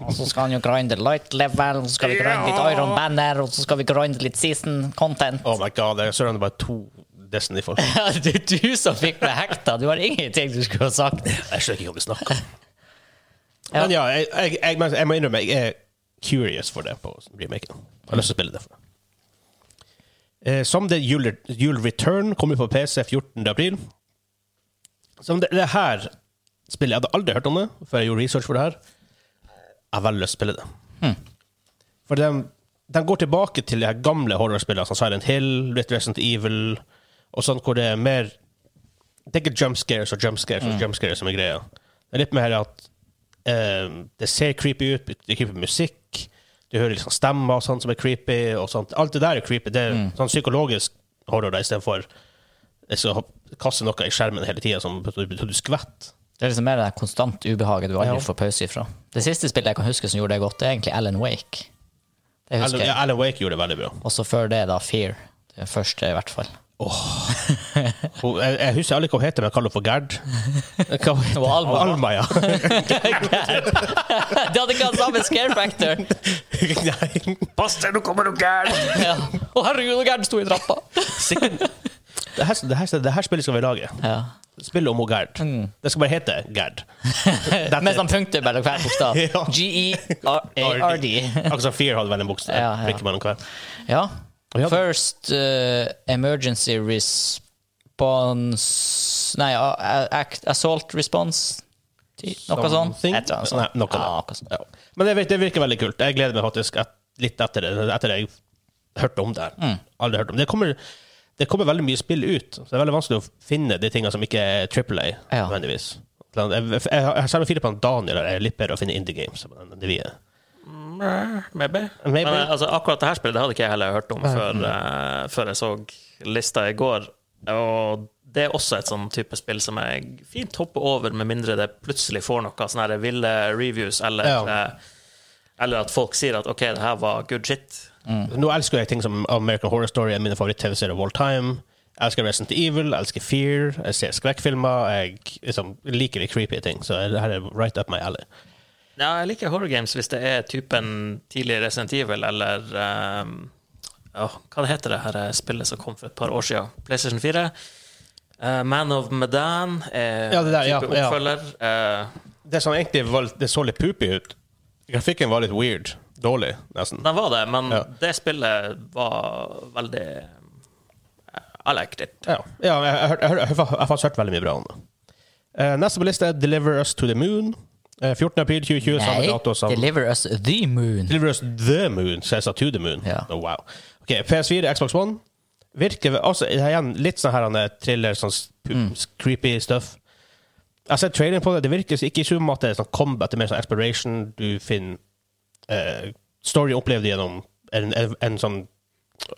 Speaker 1: Og så skal han jo grinde light level, og så skal vi grinde litt Iron Banner, og så skal vi grinde litt season content.
Speaker 2: oh my god, jeg surrounded by to Destiny-folk.
Speaker 1: Ja, [LAUGHS] det er du som fikk meg hekta. Du har ingenting du skulle ha sagt.
Speaker 2: Jeg skjønner ikke hva vi snakker om.
Speaker 1: Ja.
Speaker 2: Men ja, jeg, jeg, jeg, men jeg må innrømme jeg er curious for det på remaken. Jeg har lyst til å spille det. for det. Eh, som det Jul, Jul Return kommer på PC 14. april. Som det, det her spillet Jeg hadde aldri hørt om det før jeg gjorde research for det her. Jeg har veldig lyst til å spille det. For de, de går tilbake til de her gamle horrorspillene, som Silent Hill, litt Resident Evil, og sånn hvor det er mer det er ikke jump scares og jump scares og
Speaker 1: Mm.
Speaker 2: jump scares som er greia. Det er litt mer at eh, det ser creepy ut, det er creepy musikk, du hører liksom stemmer og sånt som er creepy, og sånt. Alt det der er creepy. Det er
Speaker 1: Mm.
Speaker 2: sånn psykologisk horror da, istedenfor jeg skal hopp- kaste noe i skjermen hele tida som betyr betyr du skvetter.
Speaker 1: Det er liksom mer det der konstant ubehaget du aldri
Speaker 2: Ja.
Speaker 1: får pause ifra. Det siste spillet jeg kan huske som gjorde det godt, det er egentlig Alan Wake. Det
Speaker 2: Alan,
Speaker 1: husker
Speaker 2: ja,
Speaker 1: jeg.
Speaker 2: Alan Wake gjorde det veldig bra.
Speaker 1: Og så før det, da, Fear. Det første, i hvert fall.
Speaker 2: Hun, jeg, jeg husker aldri hva hun heter, men jeg kaller henne for Gerd. Hva,
Speaker 1: [LAUGHS] Det var Alma.
Speaker 2: Alma, ja.
Speaker 1: [LAUGHS]
Speaker 2: [LAUGHS]
Speaker 1: det hadde ikke hatt samme scare [LAUGHS] factor!
Speaker 2: Nei.
Speaker 3: Pass deg, nå kommer du gæren!
Speaker 1: Ja. Å, herregud, så gæren sto i trappa!
Speaker 2: Sikkert- Det her, det, her, det her spillet skal vi lage.
Speaker 1: Ja.
Speaker 2: Spillet om hun Gerd.
Speaker 1: Mm.
Speaker 2: Det skal bare hete
Speaker 1: [LAUGHS]
Speaker 2: Gerd. That's
Speaker 1: Mens
Speaker 2: it.
Speaker 1: han punkter mellom hver [LAUGHS] bokstav. E
Speaker 2: Ja.
Speaker 1: [LAUGHS] G-E-A-R-D.
Speaker 2: [LAUGHS] Akkurat som Fear Altså, hadde vel en bokstav.
Speaker 1: Ja, ja.
Speaker 2: Prikker mellom hver.
Speaker 1: Ja.
Speaker 2: Ja.
Speaker 1: First eh, emergency response Nei, a- a- act, assault response? Ty- Noe sånt?
Speaker 2: Something?
Speaker 1: Et eller annet sånt.
Speaker 2: Nei, noe
Speaker 1: ja,
Speaker 2: der.
Speaker 1: noe sånt.
Speaker 2: Ja. Men det virker, det virker veldig kult. Jeg gleder meg faktisk at litt etter det, etter det jeg hørte om det. her.
Speaker 1: Mm.
Speaker 2: Aldri hørt om det. Det kommer, det kommer veldig mye spill ut, så det er veldig vanskelig å finne de tingene som ikke er Triple A,
Speaker 1: Ja.
Speaker 2: nødvendigvis. Jeg, jeg, jeg, har selv om Filip og Daniel er litt bedre å finne indie games enn det vi er.
Speaker 3: Maybe.
Speaker 2: Maybe.
Speaker 3: Men eh, altså, akkurat det her spillet det hadde ikke jeg heller hørt om før, eh, før jeg så lista i går. Og det er også et sånn type spill som jeg fint hopper over, med mindre det plutselig får noe sånne her ville reviews, eller,
Speaker 2: Ja.
Speaker 3: eh, eller at folk sier at OK, det her var good shit.
Speaker 2: Nå elsker jeg ting som American Horror Story er mine favoritt-TV-serier of all time. Jeg elsker Resident Evil, jeg elsker Fear, jeg ser skrekkfilmer. Jeg liksom, liker de creepy ting, så det her er right up my alley.
Speaker 3: Ja, jeg liker horror games hvis det er typen tidlig Resident Evil, eller ehm, ja, Hva det heter det her spillet som kom for et par år siden? PlayStation 4? Eh, Man of Medan er
Speaker 2: Ja, det der, ja,
Speaker 3: type
Speaker 2: ja.
Speaker 3: oppfølger. Eh,
Speaker 2: Det som egentlig var, det så litt poopy ut. Grafikken var litt weird. Dårlig, nesten.
Speaker 3: den var det, men
Speaker 2: Ja.
Speaker 3: det spillet var veldig eh, I liked it.
Speaker 2: Ja, ja jeg, jeg, hørte- jeg, hørte- jeg, har faktisk hørt veldig mye bra om det. Eh, neste på lista er Deliver Us to the Moon. Eh, 14. april 2020, samme dato som
Speaker 1: Nei, Deliver Us The Moon. [LAUGHS]
Speaker 2: Deliver Us the Moon, så jeg sa to the Moon.
Speaker 1: Ja.
Speaker 2: Oh, wow. Ok, PS4, Xbox One. Virker altså, det er igjen litt sånn her han er thriller, sånn sp-
Speaker 1: Mm.
Speaker 2: creepy stuff. Jeg har sett traileren på det. Det virker ikke i sum at det er sånn combat, det er mer sånn exploration. Du finner eh, story opplevd gjennom en, en, en sånn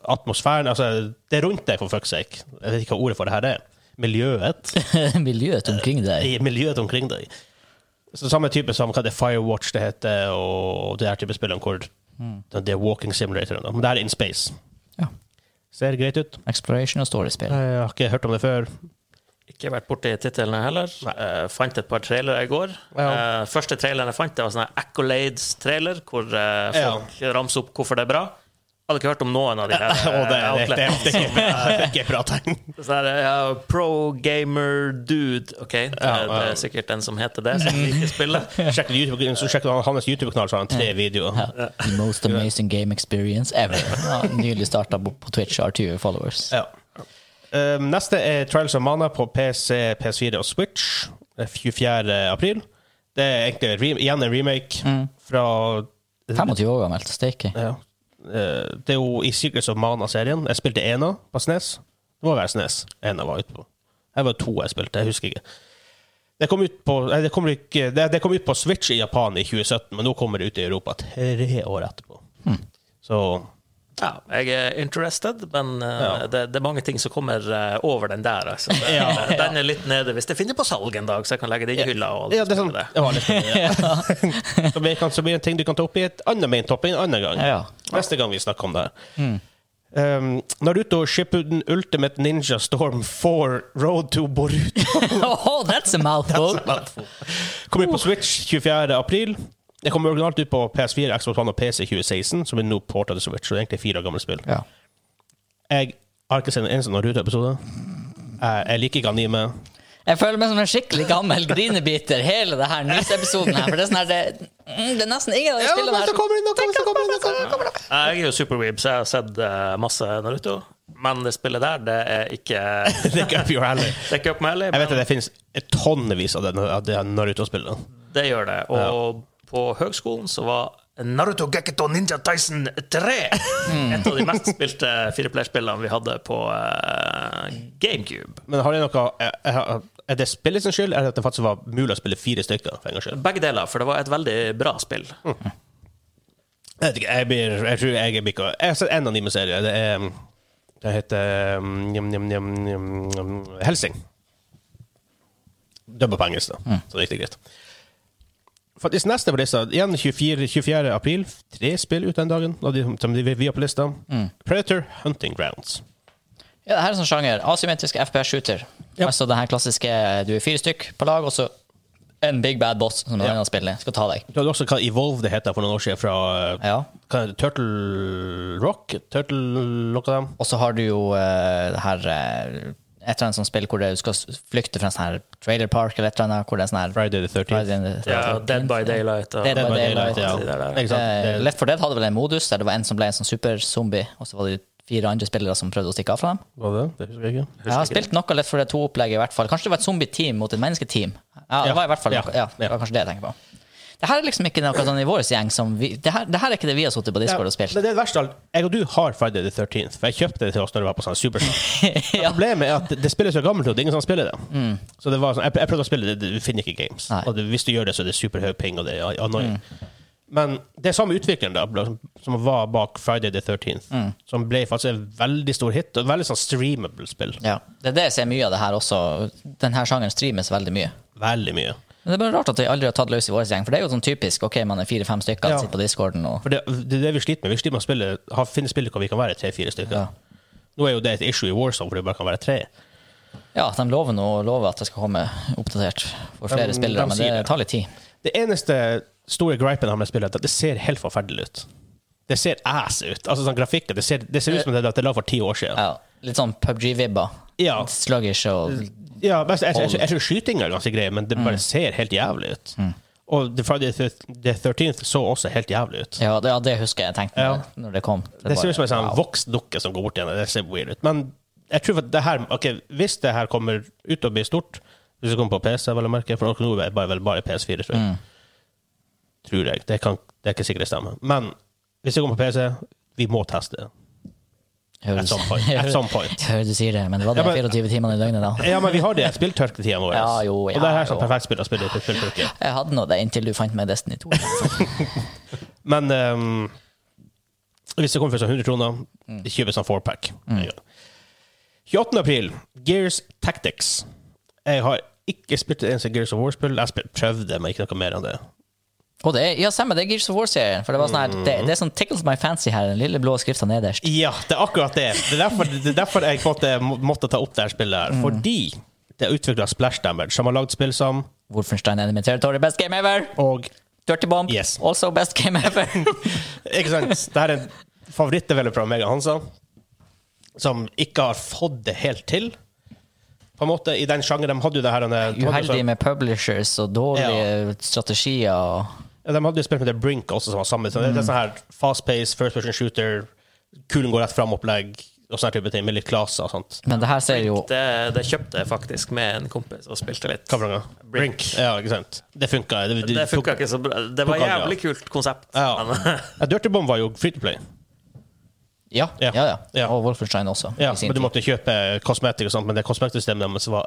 Speaker 2: atmosfæren Altså, det er rundt deg, for fuck's sake. Jeg vet ikke hva ordet for det her er. Miljøet
Speaker 1: Miljøet omkring deg.
Speaker 2: i miljøet omkring deg. Så Samme type som hva det er Firewatch det heter, og det her type spillene hvor det er walking simulator. og noe. Men det her er in space. Ser greit ut.
Speaker 1: Exploration og storyspill.
Speaker 2: Jeg har ikke hørt om det før.
Speaker 3: Ikke vært borti titlene heller. Eh, fant et par trailere i går.
Speaker 2: Ja.
Speaker 3: Eh, første traileren jeg fant, det var sånn her Accolades-trailer, hvor eh, folk ramser opp hvorfor det er bra. Hadde ikke hørt om noen av de
Speaker 2: [LAUGHS]
Speaker 3: her.
Speaker 2: Og det, det,
Speaker 3: eh,
Speaker 2: det,
Speaker 3: outletene.
Speaker 2: det, det, er [LAUGHS] ikke bra tegn.
Speaker 3: Sånn her, ja, pro gamer dude. OK, det,
Speaker 2: Ja, ja.
Speaker 3: det er sikkert en som heter det, som liker spillet.
Speaker 2: [LAUGHS] Sjekk YouTube, så sjekk han- hans YouTube-kanal, så har han tre videoer.
Speaker 1: The most amazing game experience ever. Ja, nylig starta på Twitch, har 20 followers.
Speaker 2: Ja. Um, neste er Trials of Mana på PC, PS4 og Switch. Det er 24. april. Det er egentlig re igjen en remake fra
Speaker 1: 25 år gammelt, steike.
Speaker 2: ja. Eh, Det er jo i Secrets of Mana-serien. Jeg spilte Ena på SNES. Det må være SNES Ena var ute på. Jeg var to jeg spilte, jeg husker ikke. Det kom ut på, nei, det kommer ikke, det, det kom ut på Switch i Japan i 2017, men nå kommer det ut i Europa tre år etterpå. Så
Speaker 3: Ja, jeg er interested, men eh,
Speaker 2: Ja.
Speaker 3: det, det er mange ting som kommer eh, over den der.
Speaker 2: [LAUGHS]
Speaker 3: Altså. Det- Den er litt nede hvis jeg finner på salg en dag, så jeg kan legge det i hylla. Og alt
Speaker 2: Ja, det er sånn.
Speaker 3: sånt der.
Speaker 2: Ja, litt sånn,
Speaker 1: [LAUGHS]
Speaker 2: ja. så, blir, kan, så blir det en ting du kan ta opp i et annet maintopping en annen gang.
Speaker 1: Ja.
Speaker 2: Neste gang vi snakker om det her. Um, Naruto Shippuden Ultimate Ninja Storm 4 Road to Boruto
Speaker 1: Oh, that's a mouthful!
Speaker 2: kommer ut på Switch 24. april. Det kommer originalt ut på PS4, Xbox One og PC 2016, som er nå portet til Switch. Så det er egentlig fire år gamle spill.
Speaker 1: Ja.
Speaker 2: Jeg har ikke sett en eneste Naruto-episode. Jeg, jeg liker ikke anime.
Speaker 1: Jeg føler meg som en skikkelig gammel grinebiter hele det her nyhetsepisoden her. For det er sånn her det, mm, det er nesten ingen av de spillene her som
Speaker 2: det noe, så kommer det noe!
Speaker 3: Ja, Eh, Jeg er jo superweeb, så jeg har sett eh, masse Naruto. Men det spillet der, det er ikke
Speaker 2: Det er ikke up your alley.
Speaker 3: Det er ikke opp meg heller,
Speaker 2: [LAUGHS] Jeg vet
Speaker 3: men
Speaker 2: at det finnes tonnevis av det, av det Naruto-spillet.
Speaker 3: det gjør det. Og på høgskolen så var Naruto Gekketo Ninja Tyson 3
Speaker 2: Hmm.
Speaker 3: et av de mest spilte fireplayerspillene vi hadde på eh, GameCube.
Speaker 2: Men har det noe er- er- Er det spillet sin skyld, eller at det faktisk var mulig å spille fire stykker? for en gangs skyld?
Speaker 3: Begge deler, for det var et veldig bra spill.
Speaker 2: Jeg vet ikke, jeg blir Jeg tror jeg er ikke Jeg har sett én anime-serie. Det er um, Det heter um, njam, njam, njam, njam, njam, Helsing. Dubba på engelsk, da. Så det er riktig greit. Faktisk neste på lista, igjen 24, 24. april. Tre spill ut den dagen av de som de, vi har på lista. Predator Hunting Grounds.
Speaker 1: Ja, det her er sånn sjanger. Asymmetrisk FPS-shooter.
Speaker 2: Ja.
Speaker 1: Altså den her klassiske du er fire stykk på lag, og så en big bad boss som
Speaker 2: Ja.
Speaker 1: ja. spiller, skal ta deg.
Speaker 2: Du hadde også hva Evolve det heter for noen år siden, fra uh,
Speaker 1: Ja.
Speaker 2: hva er det, Turtle Rock? Turtle noe av dem?
Speaker 1: Og så har du jo eh, det her eh, et eller annet sånt spill hvor du skal s- flykte fra en sånn her trailer park eller et eller annet. Hvor det er sånn her
Speaker 2: Friday the 13th.
Speaker 1: Friday the
Speaker 3: Ja,
Speaker 1: 13th.
Speaker 3: Dead by Daylight. Og,
Speaker 1: Dead by
Speaker 2: Dead by
Speaker 1: Daylight,
Speaker 2: Daylight, ja.
Speaker 3: de der,
Speaker 2: Ikke sant?
Speaker 1: Eh,
Speaker 2: Det-
Speaker 1: Left 4 Dead hadde vel en modus der det var en som ble en sånn superzombie, og så var det fire andre spillere som prøvde å stikke av fra dem.
Speaker 2: Var det? Det husker jeg ikke.
Speaker 1: Jeg har spilt noe Left 4 Dead 2-opplegg, i hvert fall. Kanskje det var et zombie-team mot et mennesketeam. Ja,
Speaker 2: Ja,
Speaker 1: det var i hvert fall
Speaker 2: ja,
Speaker 1: noe, ja, det
Speaker 2: ja.
Speaker 1: var kanskje det jeg tenker på. Det her er liksom ikke noe sånn i vår gjeng som vi det her, det her er ikke det vi har sittet på Discord og spilt.
Speaker 2: Men det er det verste av alt. Jeg og du har Friday the 13th, for jeg kjøpte det til oss når det var på sånn
Speaker 1: [LAUGHS]
Speaker 2: Superstar.
Speaker 1: Ja. Mm.
Speaker 2: Problemet er at det spilles så gammelt, og det er ingen som spiller det. Så det var sånn, jeg, jeg prøvde å spille det, det- du finner ikke games.
Speaker 1: Nei. Mm.
Speaker 2: Og det, hvis du gjør det, så er det superhøy ping, og det er annoying. Men det er samme utvikleren da, bla- som var bak Friday the 13th,
Speaker 1: Mm.
Speaker 2: som ble faktisk en veldig stor hit, og et veldig sånn streamable spill.
Speaker 1: Ja. Det er det jeg ser mye av det her også. Denne sjangeren streames veldig mye.
Speaker 2: Veldig mye.
Speaker 1: Men det er bare rart at vi aldri har tatt løs i vår gjeng, for det er jo sånn typisk ok, man er fire-fem stykker
Speaker 2: Ja.
Speaker 1: sitter på discorden og
Speaker 2: For det, det er det vi sliter med. Vi sliter med å spille, ha, finne spill hvor vi kan være tre-fire stykker.
Speaker 1: Ja.
Speaker 2: Nå er jo det et issue i Warzone, hvor det bare kan være tre.
Speaker 1: Ja, de lover nå lover at det skal komme oppdatert for flere
Speaker 2: De-
Speaker 1: spillere,
Speaker 2: de
Speaker 1: men
Speaker 2: sier
Speaker 1: det
Speaker 2: det.
Speaker 1: tar litt tid.
Speaker 2: Det eneste store gripen han har med spillet, er at det ser helt forferdelig ut. Det ser ass ut. Altså sånn grafikken, det ser, det ser ut som det er laget for ti år siden.
Speaker 1: Ja, litt sånn PubG-vibber.
Speaker 2: Ja.
Speaker 1: Sluggish og
Speaker 2: Ja, men jeg, jeg, jeg, jeg tror skytinga er ganske grei, men det bare ser helt jævlig ut. Og The Friday the thir- the 13th så også helt jævlig ut.
Speaker 1: Ja, det, ja, det husker jeg jeg tenkte
Speaker 2: Ja.
Speaker 1: når- når det kom.
Speaker 2: Det ser ut som en sånn
Speaker 1: wow.
Speaker 2: voksdukke som går bort igjen. Det ser weird ut. Men jeg tror at det her, ok, hvis det her kommer ut og blir stort Hvis det kommer på PC, vel å merke, for akkurat nå er det bare, vel bare PS4, tror
Speaker 1: Mm.
Speaker 2: jeg. Tror jeg. Det, kan, det er ikke sikkert det stemmer. Men hvis det kommer på PC, vi må teste det.
Speaker 1: Hører du-
Speaker 2: At some
Speaker 1: [LAUGHS]
Speaker 2: point. At some point.
Speaker 1: Hører du sier det, men det var de
Speaker 2: Ja, men-
Speaker 1: 24 timene i døgnet, da.
Speaker 2: Ja, men vi har det spilltørketida vår.
Speaker 1: Ja, jo,
Speaker 2: og det er
Speaker 1: ja,
Speaker 2: her som
Speaker 1: jo.
Speaker 2: perfekt spill å spille i spilltørke.
Speaker 1: Jeg hadde nå det inntil du fant meg Destiny
Speaker 2: [LAUGHS]
Speaker 1: 2.
Speaker 2: Men ehm, hvis det kommer for sånn 100 kroner, kjøper sånn 4-pack. 28. april, Gears Tactics. Jeg har ikke spilt et eneste Gears of War-spill. Jeg spil- prøvde, men ikke noe mer enn det.
Speaker 1: Og det er, ja, stemmer, det er Gears of War-serien. For det var sånn her, det, det er sånn tickles my fancy her, den lille blå skrifta nederst.
Speaker 2: Ja, det er akkurat det. Det er derfor, det er derfor jeg på en måte må- måtte ta opp det her spillet. her. Fordi det er utvikla Splash Damage, som har lagd spill som
Speaker 1: Wolfenstein Enemy Territory, best game ever!
Speaker 2: Og
Speaker 1: Dirty Bomb,
Speaker 2: Yes.
Speaker 1: also best game
Speaker 2: [LAUGHS]
Speaker 1: ever!
Speaker 2: Ikke sant? Det her er favorittdeveloper fra meg og Hansa, som ikke har fått det helt til, på en måte, i den sjangeren. De hadde jo det her denne-
Speaker 1: Uheldig med publishers og dårlige strategier og
Speaker 2: Ja, de hadde jo spilt med The Brink også, som var samme.
Speaker 1: Mm.
Speaker 2: Så det, det er sånn her fast pace, first person shooter, kulen går rett fram-opplegg, og sånne type ting, med litt klaser og sånt.
Speaker 1: Men det her ser jo
Speaker 3: Det, det kjøpte jeg faktisk med en kompis og spilte litt.
Speaker 2: Hva for noe?
Speaker 3: Brink.
Speaker 2: Ja, ikke sant. Det funka. Det, det,
Speaker 3: Det
Speaker 2: tok-
Speaker 3: funka ikke så bra. Det var
Speaker 2: tok aldri
Speaker 3: jævlig kult konsept.
Speaker 2: Ja.
Speaker 1: [LAUGHS]
Speaker 3: Men, [LAUGHS]
Speaker 2: Ja, Dirty Bomb var jo free to play.
Speaker 1: Ja,
Speaker 2: Ja.
Speaker 1: ja, ja.
Speaker 2: Ja.
Speaker 1: Og Wolfenstein også.
Speaker 2: Ja,
Speaker 1: i sin
Speaker 2: men du
Speaker 1: tid.
Speaker 2: måtte kjøpe kosmetikk og sånt, men det kosmetikksystemet deres var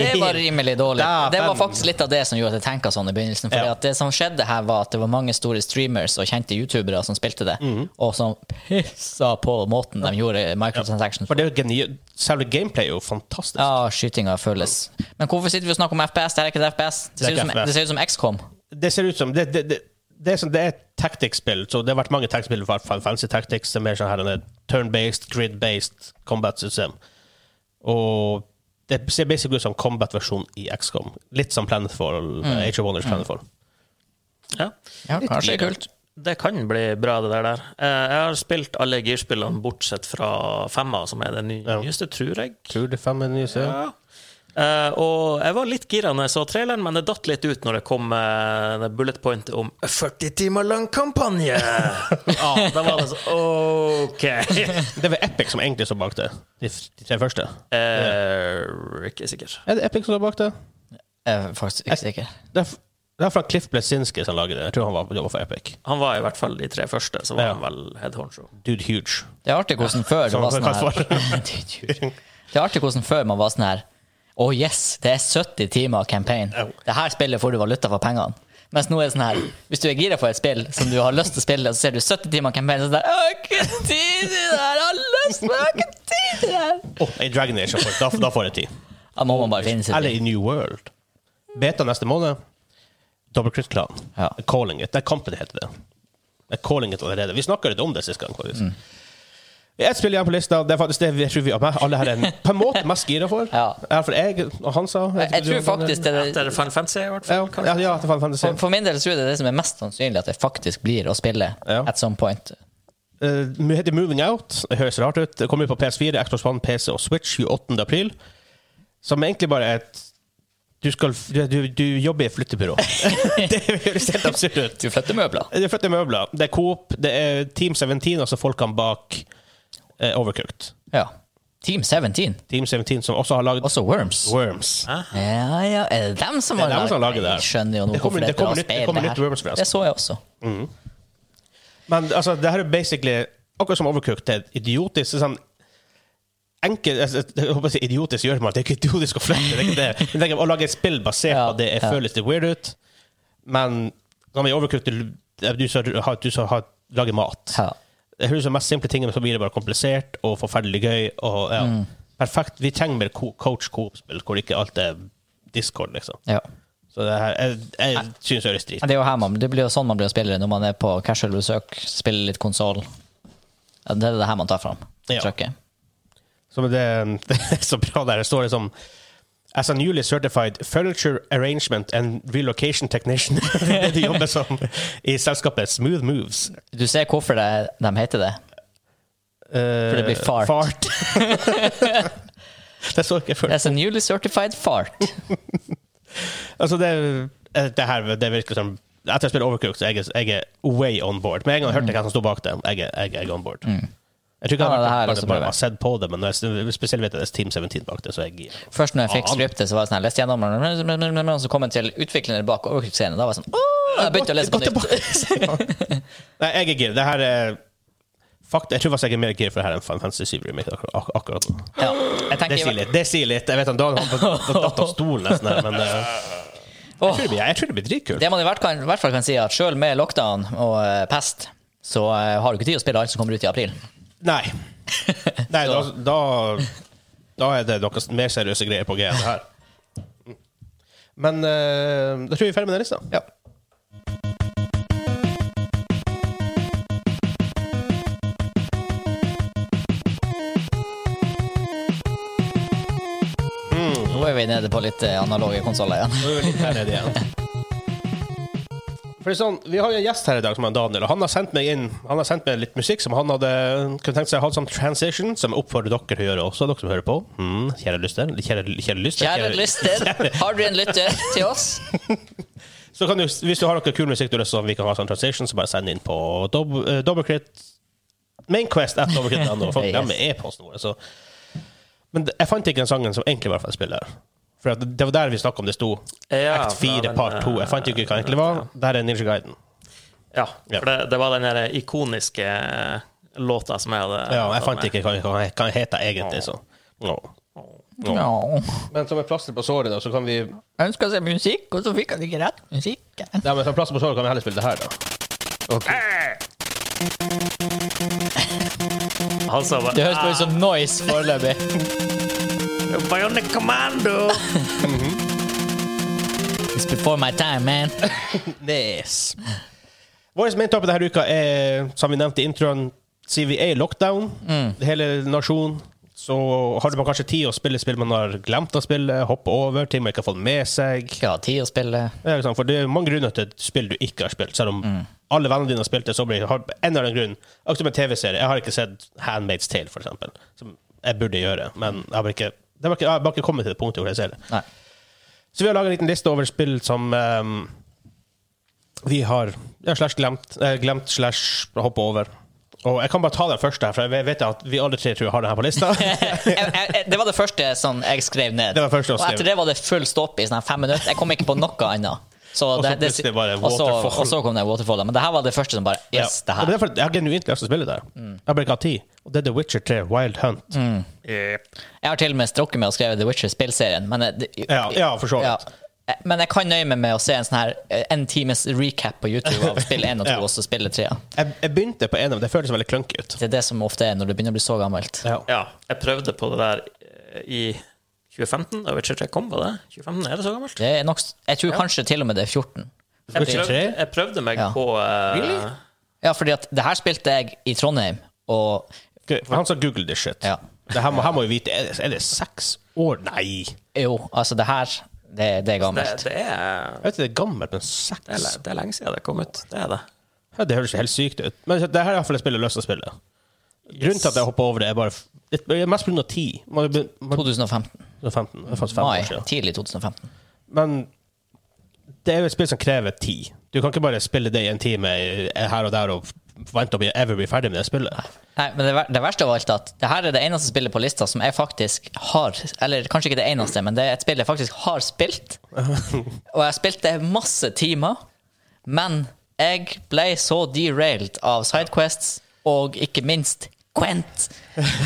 Speaker 1: Det
Speaker 2: [LAUGHS]
Speaker 1: var rimelig dårlig.
Speaker 2: Da,
Speaker 1: Det var
Speaker 2: men-
Speaker 1: faktisk litt av det som gjorde at jeg tenka sånn i begynnelsen. Fordi
Speaker 2: Ja.
Speaker 1: at det som skjedde her, var at det var mange store streamers og kjente youtubere som spilte det,
Speaker 2: Mhm.
Speaker 1: og som pissa på måten de gjorde microtransactions
Speaker 2: For det er jo geni... Selve gameplay er jo fantastisk.
Speaker 1: Ja, skytinga føles. Men hvorfor sitter vi og snakker om FPS? Det her er ikke et FPS. Det
Speaker 2: er
Speaker 1: ser ut
Speaker 2: ikke
Speaker 1: som,
Speaker 2: FPS.
Speaker 1: det ser ut som XCOM.
Speaker 2: Det ser ut som Det, det, det, det er, sånn, det er et tactics-spill, så det har vært mange tactics-spill, i hvert fall fancy tactics. Det er mer sånn her en turn-based, grid-based combat-system. Og det ser basically ut som combat-versjon i XCOM. Litt som Planetfall, eh, Age of Wonders Planetfall.
Speaker 3: ja.
Speaker 1: Ja, kanskje kult.
Speaker 3: Det kan bli bra, det der. der. Eh, Jeg har spilt alle girspillene bortsett fra femma, som er det ny-
Speaker 2: Ja.
Speaker 3: nyeste, tror jeg.
Speaker 2: Tror det fem er nye serier.
Speaker 3: Ja. Eh, og jeg var litt gira når jeg så traileren, men det datt litt ut når det kom eh, det bullet point om 40 timer lang
Speaker 2: [LAUGHS]
Speaker 3: kampanje! ja, da var det sånn OK!
Speaker 2: Det er vel Epic som egentlig står bak det, de, f- de tre første.
Speaker 3: Eh, ikke sikker.
Speaker 2: Er det Epic som står bak det?
Speaker 1: Jeg er faktisk ikke sikker.
Speaker 2: Det er, f- det er fra Cliff Blesinski som lager det. Jeg tror han var, jobba for Epic.
Speaker 3: Han var i hvert fall de tre første, så var
Speaker 2: Ja.
Speaker 3: han vel head honcho.
Speaker 2: Dude huge.
Speaker 1: Det er artig hvordan før det
Speaker 2: Som
Speaker 1: var sånn [LAUGHS]
Speaker 2: for
Speaker 1: her Det
Speaker 2: [LAUGHS]
Speaker 1: er artig hvordan før man var sånn her Å yes, det er 70 timer campaign. Det her spillet får du valuta for pengene. Mens nå er det sånn her Hvis du er gira for et spill som du har lyst til å spille, og så ser du 70 timer campaign, så er det sånn her, «Å, Jeg har ikke tid til det her! Jeg har lyst, men jeg har ikke tid til det her!
Speaker 2: Å, i Oh, Dragon Age, da, da får jeg ti.
Speaker 1: Da må man bare finne sitt
Speaker 2: Eller i New World. Beta neste måned. Double Crit Clan.
Speaker 1: Ja.
Speaker 2: Calling It. Det er kampen det heter det. Det er Calling It allerede. Vi snakka litt om det sist gang. faktisk.
Speaker 1: Mm.
Speaker 2: Ett spill igjen på lista. Det er faktisk det vi tror vi alle her er på en måte mest gira for.
Speaker 1: Ja.
Speaker 2: I hvert fall jeg og Hansa.
Speaker 1: Jeg tror faktisk det er
Speaker 3: Etter Final Fantasy, i hvert
Speaker 2: Ja,
Speaker 3: fall.
Speaker 2: ja,
Speaker 3: kanskje.
Speaker 2: ja, det er fantasy.
Speaker 1: For, for min del så tror jeg det er det som er mest sannsynlig at det faktisk blir å spille
Speaker 2: Ja.
Speaker 1: at some point.
Speaker 2: Eh, Det heter Moving Out. Det høres rart ut. Det kommer ut på PS4, Xbox One, PC og Switch 28. april. Som egentlig bare er et Du, skal, du, du, du jobber i et flyttebyrå. [LAUGHS] det høres helt absurd ut.
Speaker 1: Du flytter møbler.
Speaker 2: Det er flotte møbler. Det er Coop, det er Team 17, altså folkene bak eh, Overcooked.
Speaker 1: Ja. Team 17,
Speaker 2: Team 17 som også har laget
Speaker 1: også Worms.
Speaker 2: Worms.
Speaker 1: Ja, ja, er det dem som
Speaker 2: Det er
Speaker 1: har
Speaker 2: dem som lager det her.
Speaker 1: Jeg skjønner jo nå
Speaker 2: Det kommer-
Speaker 1: hvorfor
Speaker 2: det
Speaker 1: det
Speaker 2: kommer
Speaker 1: heter
Speaker 2: nytt- det
Speaker 1: Aspeid,
Speaker 2: kommer
Speaker 1: det
Speaker 2: nytt
Speaker 1: her.
Speaker 2: Worms forresten.
Speaker 1: Det så jeg også.
Speaker 2: Men altså, det her er basically akkurat som Overcooked. Det er et idiotisk sånn Enkel, altså, jeg håper å si idiotisk gjør man det er ikke idiotisk å flytte. Det er ikke det. Men tenk, å lage et spill basert
Speaker 1: Ja,
Speaker 2: på det jeg
Speaker 1: ja.
Speaker 2: føles litt weird ut. Men som i Overcooked, du, du som har- du som har- lager mat.
Speaker 1: Ja.
Speaker 2: Det høres ut som mest simple ting, men så blir det bare komplisert og forferdelig gøy. Og, ja.
Speaker 1: Mm.
Speaker 2: Perfekt. Vi trenger mer co coach coop-spill, hvor ikke alt er Discord, liksom.
Speaker 1: Ja.
Speaker 2: Så det her, jeg, jeg synes det høres drit
Speaker 1: Men Det er jo her man, det blir jo sånn man blir spiller når man er på casual besøk, spiller litt konsoll. Ja, det er det her man tar fram.
Speaker 2: Ja.
Speaker 1: Trykket.
Speaker 2: Så men det, [LAUGHS] det er så bra der. Det står liksom As a newly certified furniture arrangement and relocation technician. [LAUGHS] det er det de jobber som i selskapet Smooth Moves.
Speaker 1: Du ser hvorfor det, de heter det.
Speaker 2: For
Speaker 1: det blir fart.
Speaker 2: Eh,
Speaker 1: [LAUGHS]
Speaker 2: fart. [LAUGHS] det så ikke jeg før.
Speaker 1: That's a newly certified fart.
Speaker 2: Altså, det, eh, det her det virker som Etter å ha spilt Overcooked, så jeg, er- jeg er way on board. Med en gang jeg hørte hvem som sto bak det, jeg, er- jeg, jeg er on board. Jeg tror ikke
Speaker 1: Mm. Ja,
Speaker 2: jeg
Speaker 1: det her
Speaker 2: har
Speaker 1: er
Speaker 2: vært-
Speaker 1: også
Speaker 2: bare, bare
Speaker 1: bra.
Speaker 2: har sett på det, men når jeg, spesielt vet jeg det er Team 17 bak det, så er jeg gira.
Speaker 1: Først når jeg fikk
Speaker 2: Ja.
Speaker 1: scriptet, så var jeg sånn her, leste gjennom den, og så kom jeg til utvikleren bak overkrigsserien. Da var jeg sånn Åh! Jeg begynte å lese på nytt. [LAUGHS]
Speaker 2: Nei, jeg er gira. Det her er Fakt, jeg tror faktisk jeg er mer gira for det her enn Final Fantasy 7 Remake akkurat, ak akkurat nå.
Speaker 1: Ja. Jeg
Speaker 2: Det
Speaker 1: tenker,
Speaker 2: sier litt. Det sier litt. Jeg vet han Dan han datt av stolen nesten her, men eh, jeg,
Speaker 1: Åh.
Speaker 2: tror det blir, jeg tror det blir dritkult.
Speaker 1: Det man i hvert, kan, i hvert fall kan si, er at selv med lockdown og eh, pest, så eh, har du ikke tid å spille alt som kommer ut i april. [LAUGHS]
Speaker 2: Nei. Nei, da, da, da er det noen mer seriøse greier på G enn det her. Men eh, da tror jeg vi er ferdig med den lista.
Speaker 1: Ja. Hmm. vi nede på litt eh, analoge konsoller igjen.
Speaker 2: Nå er vi litt her nede igjen. For det er sånn, Vi har jo en gjest her i dag som er Daniel, og han har sendt meg inn Han har sendt meg litt musikk som han hadde kunne tenkt seg å ha som transition, som jeg oppfordrer dere til å gjøre også, dere som hører på. Mm, kjære lyster. Kjære, kjære lyster.
Speaker 1: Kjære lyster, har du en lytter til oss?
Speaker 2: Så kan du, hvis du har noe kul musikk du har lyst til som vi kan ha som transition, så bare send inn på dob, eh, dobbeltkritt Mainquest at dobbeltkritt.no. Folk
Speaker 1: Yes.
Speaker 2: glemmer e-posten vår. Så. Men jeg fant ikke den sangen som egentlig var fra spillet her. For at det var der vi snakket om det sto
Speaker 3: Ja, eh,
Speaker 2: Act 4
Speaker 3: fra den,
Speaker 2: part 2. Jeg fant ikke hva det egentlig var. Der er Ninja Guiden.
Speaker 3: Ja,
Speaker 2: Ja.
Speaker 3: for det, det var den der ikoniske eh, låta som jeg hadde
Speaker 2: Ja, jeg fant
Speaker 3: [LAUGHS]
Speaker 2: ikke hva hva- hva den heter egentlig, så. Nå.
Speaker 1: Ja.
Speaker 2: Men som et plaster på såret, da, så kan vi Ja,
Speaker 1: Ønska seg musikk, og så fikk han ikke rett musikk.
Speaker 2: men som plaster på såret kan vi heller spille det her, da.
Speaker 3: Han sa
Speaker 1: Det
Speaker 3: bare
Speaker 1: høres bare ut som noise foreløpig.
Speaker 3: «Ah, Bionic Commando!
Speaker 1: It's before my time, man. [LAUGHS]
Speaker 2: Yes. Vår main topic denne uka er, som vi nevnte i introen, CVA lockdown. Hele nasjonen. Så har man kanskje tid å spille spill man har glemt å spille, hoppe over, ting man ikke har fått med seg.
Speaker 1: Ikke ha tid å spille.
Speaker 2: Det er liksom, for det er mange grunner til et spill du ikke har spilt. Selv om alle vennene dine har spilt det, så blir det har en eller annen grunn. Akkurat som en TV-serie. Jeg har ikke sett Handmaid's Tale, for eksempel, som jeg burde gjøre. Men jeg har bare ikke, det har bare ikke, jeg har bare ikke kommet til det punktet hvor jeg ser det.
Speaker 1: Nei.
Speaker 2: Så vi har laget en liten liste over spill som ehm, vi har ja, slash glemt, eh, glemt slash hoppe over. Og jeg kan bare ta den første, her, for jeg vet at vi alle tre tror jeg har den her på lista.
Speaker 1: jeg, jeg, det var det første som jeg skrev ned.
Speaker 2: Det var det første jeg
Speaker 1: og etter
Speaker 2: skrev.
Speaker 1: det var det full stopp i sånn her fem minutter. Jeg kom ikke på noe annet. Så
Speaker 2: Og så
Speaker 1: det, det,
Speaker 2: plutselig bare
Speaker 1: og, så,
Speaker 2: waterfall.
Speaker 1: og så kom det waterfallet. Men det her var det første som bare
Speaker 2: Ja.
Speaker 1: Yes, det
Speaker 2: Og
Speaker 1: her.
Speaker 2: er fordi jeg har genuint lyst til å spille det. her. Jeg har bare ikke hatt tid. Og det er The Witcher 3, Wild Hunt.
Speaker 3: Yep.
Speaker 1: Jeg har til og med strukket med å skrive The Witcher-spillserien. Men, det-
Speaker 2: Ja, ja, for så vidt.
Speaker 1: ja. Eh, men jeg kan nøye meg med å se en sånn her eh, en times recap på YouTube av spill 1 og 2
Speaker 2: [LAUGHS] Ja.
Speaker 1: og så spill 3.
Speaker 2: Jeg, jeg begynte på en av dem, det føltes veldig klunky ut.
Speaker 1: Det er det som ofte er når du begynner å bli så gammelt.
Speaker 2: Ja.
Speaker 3: Ja, jeg prøvde på det der eh, i 2015. Da Witcher 3 kom, var det? 2015, Er det så gammelt?
Speaker 1: Det er nok, jeg tror kanskje til og med det er 14.
Speaker 3: Jeg
Speaker 2: Witcher
Speaker 3: prøvde,
Speaker 2: 3?
Speaker 3: jeg prøvde meg
Speaker 1: Ja.
Speaker 3: på eh,
Speaker 1: Ja, fordi at det her spilte jeg i Trondheim, og
Speaker 2: Ok, Han sa google this shit.
Speaker 1: Ja.
Speaker 2: Det her må, her må vi vite. Er det, er det seks år? Nei!
Speaker 1: jo, altså, det her, det, det er
Speaker 3: det,
Speaker 1: gammelt.
Speaker 3: det, er,
Speaker 2: Jeg vet ikke, det er gammelt, men
Speaker 3: det, er,
Speaker 2: seks
Speaker 3: det er lenge siden det kom ut. Det er det.
Speaker 2: Ja, det høres helt sykt ut. Men det her er iallfall et spill jeg har lyst til å spille. Grunnen til at jeg hoppa over det, er bare f- det er mest pga. tid. Man har begynt- man-
Speaker 1: 2015.
Speaker 2: 2015. Det er faktisk fem
Speaker 1: Mai.
Speaker 2: år siden.
Speaker 1: Tidlig 2015.
Speaker 2: Men det er jo et spill som krever tid. Du kan ikke bare spille det i en time eh, her og der og vente å bli, ever bli ferdig med det spillet.
Speaker 1: Nei, men det, ver- det verste av alt er at det her er det eneste spillet på lista som jeg faktisk har Eller kanskje ikke det eneste, men det er et spill jeg faktisk har spilt. Og jeg spilte masse timer, men jeg ble så derailed av sidequests og ikke minst Gwent.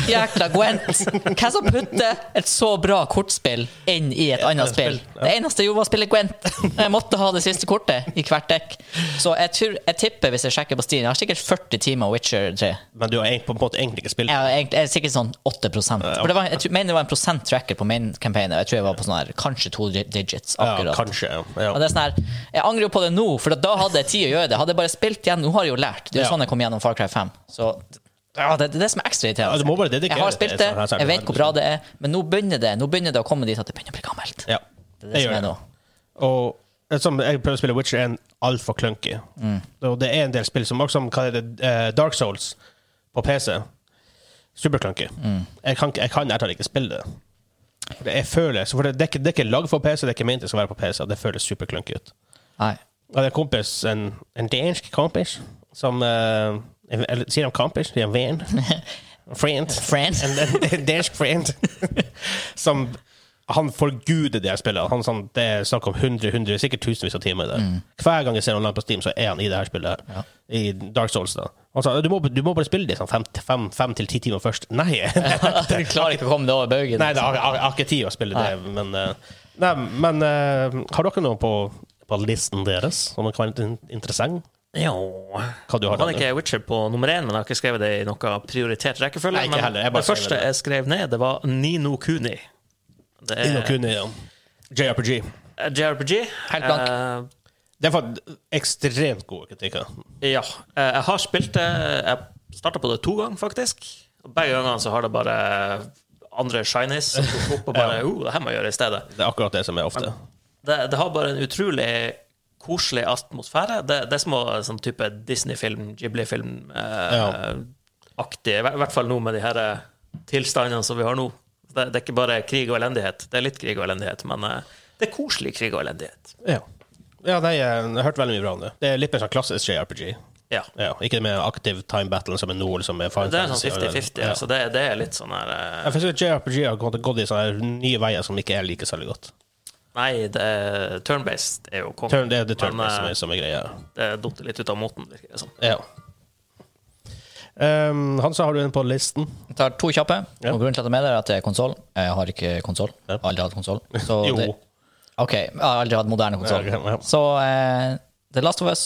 Speaker 1: Jækla Gwent! Hva som putter et så bra kortspill inn i et annet spill? Det eneste jeg gjorde, var å spille Gwent. Jeg måtte ha det siste kortet i hvert dekk. Så jeg, tror, jeg tipper, hvis jeg sjekker på Steam, jeg har sikkert 40 timer Witcher 3.
Speaker 2: Men du har egentlig, på en måte egentlig ikke spilt
Speaker 1: Jeg har egentlig, jeg er sikkert sånn 8 For det var, Jeg tror- mener det var en prosent tracker på main campaign. og Jeg tror jeg var på sånn her, kanskje to di- digits.
Speaker 2: Ja,
Speaker 1: akkurat.
Speaker 2: kanskje. Ja.
Speaker 1: Og det er sånn her, Jeg angrer jo på det nå, for da hadde jeg tid å gjøre det. Hadde jeg bare spilt igjen, nå har jeg jo lært. Det er jo
Speaker 2: Ja.
Speaker 1: sånn jeg kom gjennom Far Cry 5. Så ja, det, det er det som er ekstra irriterende.
Speaker 2: Ja, du må bare dedikere
Speaker 1: jeg har
Speaker 2: deg
Speaker 1: spilt
Speaker 2: til
Speaker 1: det,
Speaker 2: et sånt sånn her
Speaker 1: jeg vet hvor bra det er, men nå begynner det Nå begynner det å komme dit at det begynner å bli gammelt.
Speaker 2: Ja.
Speaker 1: Det er det som
Speaker 2: gjør
Speaker 1: er nå.
Speaker 2: Og det er som jeg prøver å spille Witcher 1 altfor clunky. Og det er en del spill som også som kaller det eh, Dark Souls på PC. Super clunky. Jeg kan ikke- jeg kan rett og slett ikke spille det. For det, jeg føler, så for det, det, er ikke, det er ikke lagd for PC, det er ikke ment det skal være på PC. og Det føles super clunky ut.
Speaker 1: Nei.
Speaker 2: Jeg hadde en kompis, en, en dansk kompis, som eh, eller, Sier de kompis? Sier de venn? Friend?
Speaker 1: Friend.
Speaker 2: En, en, en dansk friend. som Han forguder det jeg spiller. Han, sånn, det er snakk om hundre, hundre, sikkert tusenvis av timer. Der. Hver gang jeg ser online på Steam, så er han i det her spillet. her I Dark Souls. da Han sa du må, du må bare spille det i sånn fem, fem, fem til ti timer først. Nei!
Speaker 1: Du klarer ikke å komme deg over baugen.
Speaker 2: Nei, da, jeg, jeg, jeg har ikke tid å spille det, men, eh, nei, men eh, har dere noe på, på listen deres som kan være in- interessant?
Speaker 3: Jo
Speaker 2: Hva du har,
Speaker 3: Var det
Speaker 2: Daniel?
Speaker 3: ikke Witcher på nummer én, men jeg har ikke skrevet det i noe prioritert rekkefølge.
Speaker 2: Nei, ikke
Speaker 3: men
Speaker 2: heller. Jeg bare
Speaker 3: det første
Speaker 2: skrev det.
Speaker 3: jeg skrev ned, det var Nino Kuni. Det
Speaker 2: Inn
Speaker 3: er
Speaker 2: og kunne, ja. JRPG.
Speaker 3: eh, JRPG.
Speaker 1: Helt blank.
Speaker 2: Det er faktisk ekstremt gode kritikker.
Speaker 3: Eh, ja. Eh, Jeg har spilt det. Jeg starta på det to ganger, faktisk. Og Begge gangene så har det bare andre shinies som tok opp og bare oh, det her må jeg gjøre i stedet.
Speaker 2: Det er akkurat det som er ofte.
Speaker 3: Det, det har bare en utrolig koselig atmosfære. Det, det er som å sånn type Disney-film,
Speaker 2: Ja.
Speaker 3: Ghibli-film-aktig. I hver- hvert fall nå med de her eh, tilstandene som vi har nå. Det, det er ikke bare krig og elendighet. Det er litt krig og elendighet, men eh, det er koselig krig og elendighet.
Speaker 2: Ja. Ja, nei, jeg har hørt veldig mye bra om det. Det er litt mer sånn klassisk JRPG.
Speaker 3: Ja.
Speaker 2: Ja, ikke det med aktiv time battle som er nå, liksom med Final
Speaker 3: Det er sånn
Speaker 2: Fantasy,
Speaker 3: 50-50.
Speaker 2: Ja.
Speaker 3: Så det, det er litt sånn her eh,
Speaker 2: Jeg synes at JRPG har gått, gått i sånne her nye veier som ikke jeg liker særlig godt.
Speaker 3: Nei, det er- turn-based er jo kommet.
Speaker 2: Turn, det er det turn
Speaker 3: Men, eh,
Speaker 2: som, er, som er greia.
Speaker 3: det er datt litt ut av måten, virker det som.
Speaker 2: Ja. Um, Hansa, har du en på listen?
Speaker 1: Jeg tar to kjappe.
Speaker 2: Ja.
Speaker 1: Og grunnen til at jeg er med der, er at det er konsoll. Jeg har ikke konsoll.
Speaker 2: Ja.
Speaker 1: Aldri hatt konsoll.
Speaker 2: [LAUGHS] Jo.
Speaker 1: Ok, jeg har aldri hatt moderne konsoll.
Speaker 2: Ja, ok, ja.
Speaker 1: Så eh, The Last of Us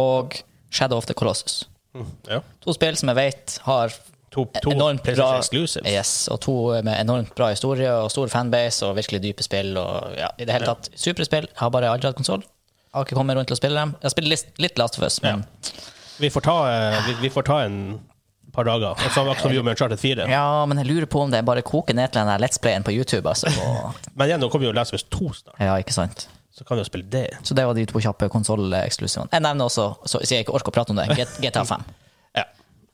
Speaker 1: og Shadow of the Colossus.
Speaker 2: Mm, Ja.
Speaker 1: To spill som jeg vet har
Speaker 2: To, to
Speaker 1: enormt
Speaker 2: PlayStation
Speaker 1: bra
Speaker 2: exclusives.
Speaker 1: Yes, og to med enormt bra historie og stor fanbase og virkelig dype spill. Og, ja, I det hele tatt supre spill. Jeg har bare aldri hatt konsoll. Har ikke kommet rundt til å spille dem. Jeg har spilt litt, litt Last of Us, men
Speaker 2: Vi får ta, eh, vi, vi får ta en par dager. Og Samme som vi gjorde med Uncharted 4.
Speaker 1: ja. men jeg lurer på om det bare koker ned til den der Let's Playen på YouTube.
Speaker 2: [LAUGHS]
Speaker 1: Altså, og,
Speaker 2: Men igjen, nå kommer jo Last of Us 2 snart,
Speaker 1: ja, ikke sant?
Speaker 2: så kan vi jo spille det.
Speaker 1: Så det var de to kjappe konsolleksklusivene. Jeg nevner også, så siden jeg ikke orker å prate om det,
Speaker 2: [LAUGHS]
Speaker 1: G- GTA 5.
Speaker 2: Ja.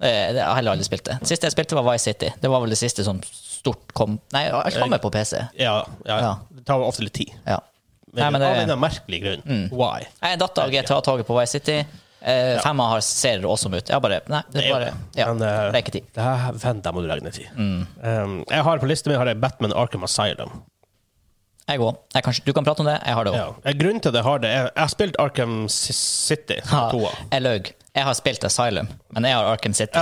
Speaker 1: Jeg har heller aldri spilt Eh, det. Siste jeg spilte, var Vice City. Det var vel det siste som stort kom Nei, alt kommer på PC.
Speaker 2: Ja, ja,
Speaker 1: Ja.
Speaker 2: Det tar ofte litt tid.
Speaker 1: Ja.
Speaker 2: Men,
Speaker 1: Nei, men det- Mm.
Speaker 2: Av en eller annen merkelig grunn. Why?
Speaker 1: Jeg er datt av GTA-toget på Vice City. Eh, Femma har, ser awesome ut. Jeg bare Nei, det
Speaker 2: Det
Speaker 1: er
Speaker 2: er jo
Speaker 1: bare
Speaker 2: det.
Speaker 1: ja,
Speaker 2: Men, eh,
Speaker 1: Det er ikke tid. Mm.
Speaker 2: Det her, vent, da må du legge ned tid. Um, jeg har på listen min har jeg Batman Arkham Asylum.
Speaker 1: Jeg går. Jeg kan, du kan prate om det. Jeg har det òg.
Speaker 2: Ja. Eh, Grunnen til at jeg har det, er jeg har spilt Arkham Si- City, som er
Speaker 1: [LAUGHS]
Speaker 2: toa.
Speaker 1: Jeg løy. Jeg har spilt Asylum, men jeg har Arkham City.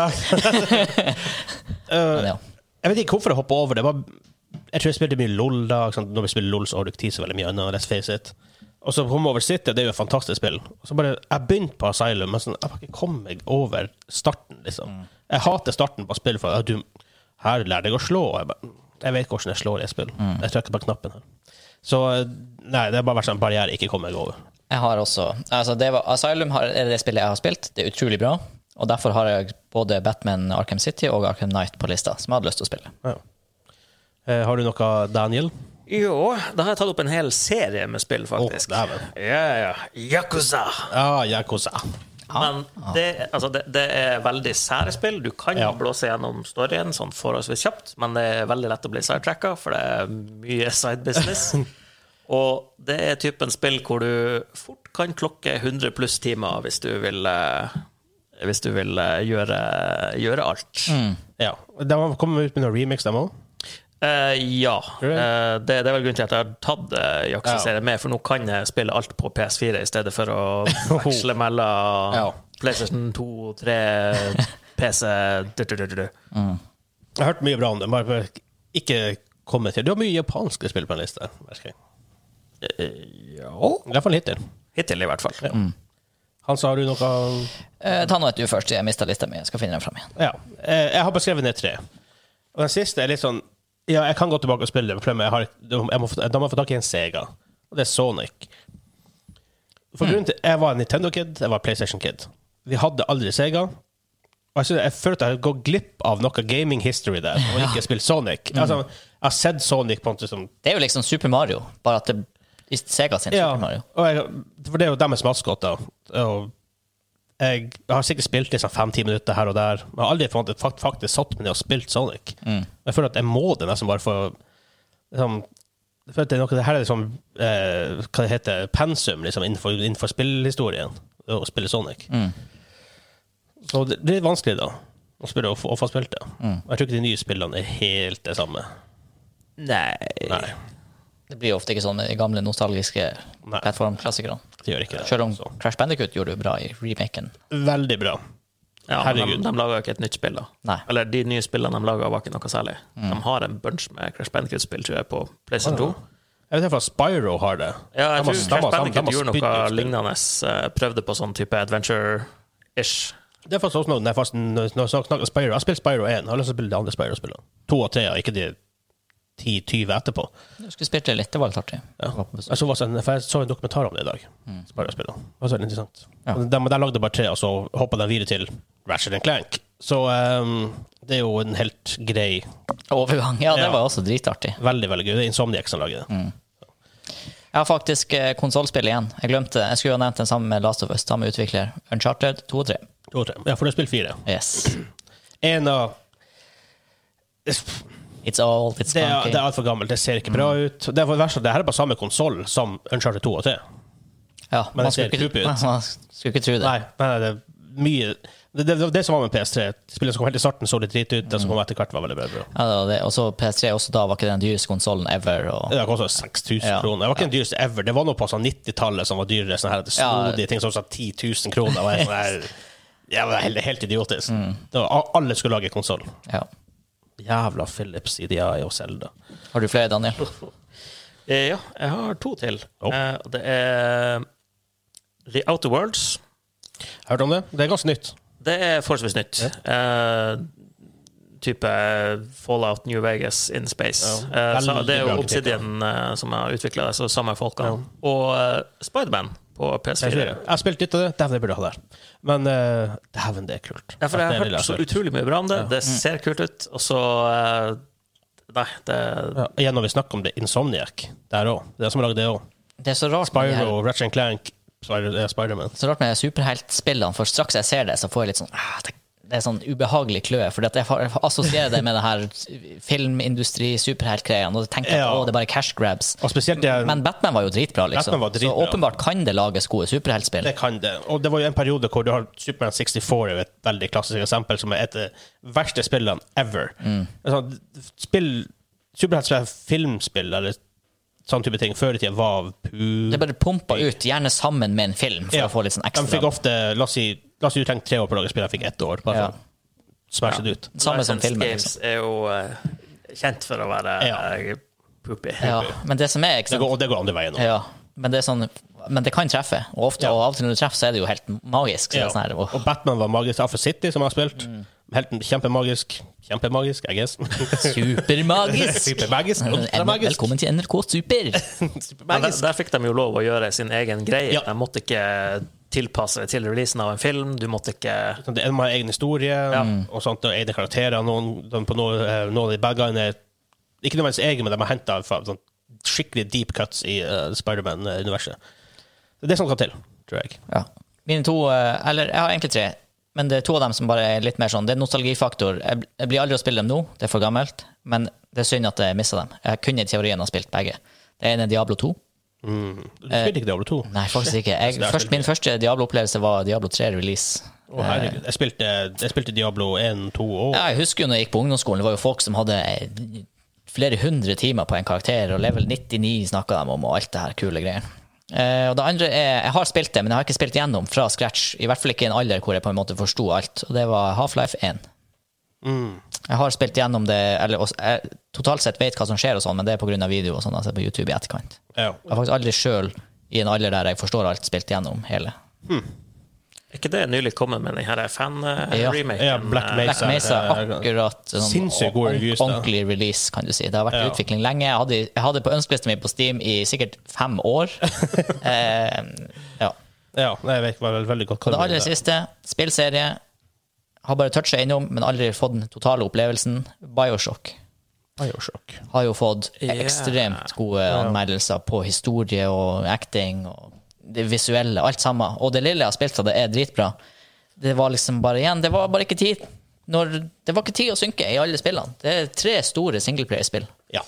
Speaker 1: Men ja.
Speaker 2: Jeg vet ikke hvorfor jeg hoppa over det. Bare, jeg tror jeg spilte mye LOL da. ikke sant? Når vi spiller LOL, så har du ikke tid så veldig mye annet. Let's face it. Og så kom jeg over City, og det er jo et fantastisk spill. Og så bare, Jeg begynte på Asylum, men sånn, jeg bare ikke kom meg over starten, liksom. Jeg hater starten på spill, for ja, du, her lærer jeg å slå. Og jeg, bare, jeg vet ikke hvordan jeg slår i et spill. Jeg trykker på knappen her. Så eh, nei, det har bare vært sånn barriere jeg ikke kom meg over.
Speaker 1: Jeg har også altså det var, Asylum har, er det spillet jeg har spilt. Det er utrolig bra. Og derfor har jeg både Batman Arkham City og Arkham Knight på lista, som jeg hadde lyst til å spille.
Speaker 2: Ja. Eh, har du noe, Daniel?
Speaker 3: Jo, da har jeg tatt opp en hel serie med spill,
Speaker 2: Å,
Speaker 3: faktisk.
Speaker 2: dæven.
Speaker 3: ja, ja. Yakuza.
Speaker 2: Ah, Yakuza.
Speaker 3: Men det, altså det, det er veldig sære spill. Du kan
Speaker 2: Ja.
Speaker 3: blåse gjennom storyen sånn forholdsvis kjapt, men det er veldig lett å bli sidetracka, for det er mye side business. Og det er typen spill hvor du fort kan klokke 100 pluss timer hvis du vil, eh, hvis du vil eh, gjøre, gjøre alt.
Speaker 2: Ja. De har kommet ut med noen remix, dem òg.
Speaker 3: Eh, ja.
Speaker 2: du det?
Speaker 3: Eh, det, det er vel grunnen til at jeg har tatt uh, Jaksa-serien med, for nå kan jeg spille alt på PS4 i stedet for å
Speaker 2: [LAUGHS]
Speaker 3: veksle mellom
Speaker 2: Ja.
Speaker 3: PlayStation 2, 3, PC du, du, du, du, du.
Speaker 2: Jeg har hørt mye bra om det, bare bare ikke kommet til. Du har mye japanske spill på en liste. merker jeg.
Speaker 3: Eh, Ja
Speaker 2: I hvert fall hittil.
Speaker 3: Hittil, i hvert fall.
Speaker 2: Hansa, har du noe
Speaker 1: Eh, ta nå et du først, jeg mista lista mi. Jeg skal finne den fram igjen.
Speaker 2: Ja. eh, Jeg har beskrevet ned tre. Og den siste er litt sånn Ja, jeg kan gå tilbake og spille det, men problemet er jeg har- jeg må få- da må jeg få tak i en Sega. Og det er Sonic. For grunnen til Jeg var en Nintendo-kid, jeg var PlayStation-kid. Vi hadde aldri Sega. Og jeg, synes, jeg føler at jeg har gått glipp av noe gaming history der, og ikke spilt Sonic. Altså, jeg har sett Sonic på en måte som
Speaker 1: Det er jo liksom Super Mario, bare at det i Sega sin Super Mario.
Speaker 2: og jeg, for det er jo deres maskoter. Og jeg har sikkert spilt liksom fem-ti minutter her og der. Men jeg har aldri fant- fakt- faktisk satt meg ned og spilt Sonic.
Speaker 1: Mm.
Speaker 2: Jeg føler at jeg må det nesten bare for liksom, jeg føler at det er noe, det her er liksom, eh, hva det heter, pensum liksom, innenfor, innenfor spillhistorien, å spille Sonic.
Speaker 1: Mm.
Speaker 2: Så det, det er vanskelig, da, å, spille, å, få, å få spilt det.
Speaker 1: Mm.
Speaker 2: Og jeg tror ikke de nye spillene er helt det samme.
Speaker 3: Nei.
Speaker 2: Nei,
Speaker 1: Det blir jo ofte ikke sånn med de gamle nostalgiske
Speaker 2: Nei.
Speaker 1: plattformklassikerne.
Speaker 2: det gjør ikke det.
Speaker 1: Selv om
Speaker 2: Så,
Speaker 1: Crash Bandicoot gjorde det bra i remaken.
Speaker 2: veldig bra.
Speaker 3: Ja,
Speaker 2: Herregud.
Speaker 3: Herregud. De, de laga ikke et nytt spill, da.
Speaker 1: Nei.
Speaker 3: Eller de nye spillene de laga, var ikke noe særlig.
Speaker 2: Mm.
Speaker 3: De har en bunch med Crash Bandicoot-spill, tror jeg, på PlayStation 2.
Speaker 2: Jeg vet i hvert fall Spyro har det.
Speaker 3: Ja, jeg
Speaker 2: De har- de
Speaker 3: tror
Speaker 2: har-
Speaker 3: Crash
Speaker 2: de har
Speaker 3: Bandicoot gjorde noe
Speaker 2: spytt ut spill.
Speaker 3: lignende. eh, Prøvde på sånn type adventure-ish.
Speaker 2: Det er faktisk også noe når jeg faktisk- når jeg snakker Spyro. Jeg har spilt Spyro 1. Jeg har lyst til å spille de andre Spyro-spillene. To og tre, og ikke de 10-20 etterpå.
Speaker 1: Du skulle spilt det litt, det var litt artig. Var på besøk.
Speaker 2: Jeg så, faktisk en, for jeg så en dokumentar om det i dag. Spyro-spillene. Det var så veldig interessant.
Speaker 1: Ja.
Speaker 2: Og De, de lagde bare tre, og så hoppa de videre til Ratchet and Clank. Så ehm, det er jo en helt grei
Speaker 1: Overgang. Ja, det
Speaker 2: Ja.
Speaker 1: var også dritartig.
Speaker 2: Veldig, veldig gøy. Det er Insomniac som lager det.
Speaker 1: Jeg har faktisk eh, konsollspill igjen. Jeg glemte, jeg skulle jo ha nevnt den sammen med Last of Us, samme utvikler. Uncharted 2 og 3.
Speaker 2: To og tre. Ja, for du har spilt fire.
Speaker 1: Yes.
Speaker 2: En av det,
Speaker 1: It's old, it's
Speaker 2: er,
Speaker 1: clunky.
Speaker 2: det er altfor gammelt, det ser ikke bra ut. Det er for det verste at det her er på samme konsoll som Uncharted 2 og 3.
Speaker 1: Ja, man skulle
Speaker 2: det ser
Speaker 1: ikke-
Speaker 2: creepy ut.
Speaker 1: [LAUGHS] Man skulle ikke tro det.
Speaker 2: Nei, nei, nei, det er mye det, det, det, det som var med PS3, spillet som kom helt i starten, så litt drit ut. Det som kom etter hvert, var veldig bra.
Speaker 1: Ja, det var det. Og så PS3 også da var ikke den dyreste konsollen ever. Og...
Speaker 2: Det kostet 6000
Speaker 1: Ja.
Speaker 2: kroner. Det var ikke den dyreste ever. Det var noe på sånn 90-tallet som var dyrere. Sånne her snodige ting som sa 10 000 kroner. Og jeg, sånn [LAUGHS] her, ja, det var helt, helt idiotisk. Det var, a- alle skulle lage konsoll.
Speaker 1: Ja.
Speaker 2: Jævla Philips, IDI og Zelda.
Speaker 1: Har du flere, Daniel?
Speaker 3: Eh, ja, jeg har to til.
Speaker 2: Oh.
Speaker 3: Eh, og det er The Outer Worlds.
Speaker 2: Hørt om det? Det er ganske nytt.
Speaker 3: Det er forholdsvis nytt. Eh, type Fallout New Vegas in space.
Speaker 2: Ja,
Speaker 3: Eh, så
Speaker 2: veldig
Speaker 3: det er
Speaker 2: bra
Speaker 3: jo Obsidian eh, som har utvikla det, så samme folkene. Og eh, Spiderman på PS4.
Speaker 2: Jeg har spilt litt av det. Dæven, det burde jeg ha der. Men eh, dæven, det er kult.
Speaker 3: Ja, for
Speaker 2: At det
Speaker 3: jeg har
Speaker 2: lille Mm.
Speaker 3: hørt så
Speaker 2: spilt.
Speaker 3: utrolig mye bra om det. Det ser kult ut. Og så eh, Nei, det
Speaker 2: ja, Igjen når vi snakker om det, Insomniac der òg. Det er som har lagd det òg.
Speaker 1: Det er så rart med, de
Speaker 2: Spyro,
Speaker 1: her,
Speaker 2: Ratchet Clank, Spider- eh, Spiderman.
Speaker 1: så rart med de superheltspillene, for straks jeg ser det, så får jeg litt sånn ah, det, det er sånn ubehagelig kløe, for jeg har- jeg assosierer det med den her filmindustri-superheltgreia, og tenker jeg
Speaker 2: Ja.
Speaker 1: at å, det er bare cash grabs.
Speaker 2: Og spesielt det,
Speaker 1: Men Batman var jo dritbra, liksom.
Speaker 2: Batman var dritbra.
Speaker 1: Så åpenbart kan det lages gode superheltspill.
Speaker 2: det kan det. Og det var jo en periode hvor du har Superman 64 er jo et veldig klassisk eksempel, som er et av de verste spillene ever.
Speaker 1: Mm.
Speaker 2: Altså, spill, Superheltspill, filmspill eller sånn type ting, før i tida var pu...
Speaker 1: Det er bare pumpa ut, gjerne sammen med en film, for
Speaker 2: Ja.
Speaker 1: å få litt sånn
Speaker 2: De fikk
Speaker 1: ekstra.
Speaker 2: ofte La oss si, la oss si du trengte tre år på å lage spill, jeg fikk ett år. Bare
Speaker 1: Ja.
Speaker 2: for å smashe det ut.
Speaker 1: Samme som
Speaker 3: License
Speaker 1: filmen.
Speaker 3: Games
Speaker 1: Liksom.
Speaker 3: er jo eh, kjent for å være
Speaker 2: Ja.
Speaker 3: eh, poopy.
Speaker 1: Ja, men det som er, ikke
Speaker 2: Det
Speaker 1: sant
Speaker 2: går, og det går andre veien òg.
Speaker 1: Ja, men det er sånn Men det kan treffe, og ofte,
Speaker 2: Ja.
Speaker 1: og av og til når det treffer, så er det jo helt magisk. Så det Mm. er sånn her,
Speaker 2: [LAUGHS]
Speaker 1: åh.
Speaker 2: Og Batman var magisk. Alpha City, som jeg har spilt, helt kjempemagisk. Kjempemagisk, I
Speaker 1: [LAUGHS]
Speaker 2: guess.
Speaker 1: Supermagisk!
Speaker 2: Supermagisk. ultramagisk.
Speaker 1: Velkommen til NRK Super!
Speaker 3: Men der, der fikk de jo lov å gjøre sin egen greie.
Speaker 2: Ja.
Speaker 3: De måtte ikke tilpasse det til releasen av en film. Du måtte ikke
Speaker 2: Sånn, det er- De har egen historie og sånt, og egne karakterer. Noen, de på noe, eh, noen av de bad guyene er ikke nødvendigvis egne, men de har henta sånn, skikkelig deep cuts i uh, Spiderman-universet. Det er det som skal til, tror jeg.
Speaker 1: Ja. Mine to eh, Eller jeg har egentlig tre, men det er to av dem som bare er litt mer sånn Det er nostalgifaktor. Jeg bl- jeg blir aldri å spille dem nå, det er for gammelt, men det er synd at jeg missa dem. Jeg kunne i teorien ha spilt begge. Det ene er Diablo 2.
Speaker 2: Du spilte ikke Diablo 2?
Speaker 1: Eh, Nei, faktisk ikke. Jeg,
Speaker 2: det er
Speaker 1: først, min første Diablo-opplevelse var Diablo 3 release.
Speaker 2: Å, herregud. Jeg spilte, jeg spilte Diablo 1, 2 og
Speaker 1: Ja, jeg husker jo når jeg gikk på ungdomsskolen, det var jo folk som hadde eh, flere hundre timer på en karakter, og level 99 snakka de om, og alt det her kule greier. Eh, og det andre er, Jeg har spilt det, men jeg har ikke spilt gjennom fra scratch. I hvert fall ikke i en alder hvor jeg på en måte forsto alt. Og det var Half-Life 1.
Speaker 2: Mm.
Speaker 1: Jeg har spilt gjennom det eller, og s- jeg, Totalt sett vet hva som skjer, og sånn, men det er pga. video og sånn, altså på YouTube i etterkant.
Speaker 2: ja.
Speaker 1: Jeg har faktisk aldri sjøl, i en alder der jeg forstår alt, spilt gjennom hele.
Speaker 3: Er ikke det nylig kommet med den her
Speaker 1: Ja.
Speaker 3: eh, fan-remaken?
Speaker 2: Ja, Black Mesa.
Speaker 1: Black Mesa
Speaker 2: Eh,
Speaker 1: akkurat sånn,
Speaker 2: sinnssykt gode
Speaker 1: ordent-
Speaker 2: reviews, da.
Speaker 1: ordentlig release, kan du si. Det har vært i
Speaker 2: Ja.
Speaker 1: utvikling lenge. Jeg hadde, jeg hadde på ønskelista mi på Steam i sikkert fem
Speaker 2: [LAUGHS]
Speaker 1: år. eh, ja.
Speaker 2: ja nei, jeg vet ikke, var veldig godt
Speaker 1: Og det aller siste, spillserie, har bare toucha innom, men aldri fått den totale opplevelsen. Bioshock
Speaker 2: Bioshock.
Speaker 1: har jo fått e-
Speaker 3: Ja.
Speaker 1: ekstremt gode anmeldelser på historie og acting og det visuelle, alt sammen. Og det lille jeg har spilt av det, er dritbra. Det var liksom bare igjen, det var bare ikke tid. Når, det var ikke tid å synke i alle spillene. Det er tre store singleplayer-spill.
Speaker 2: Ja.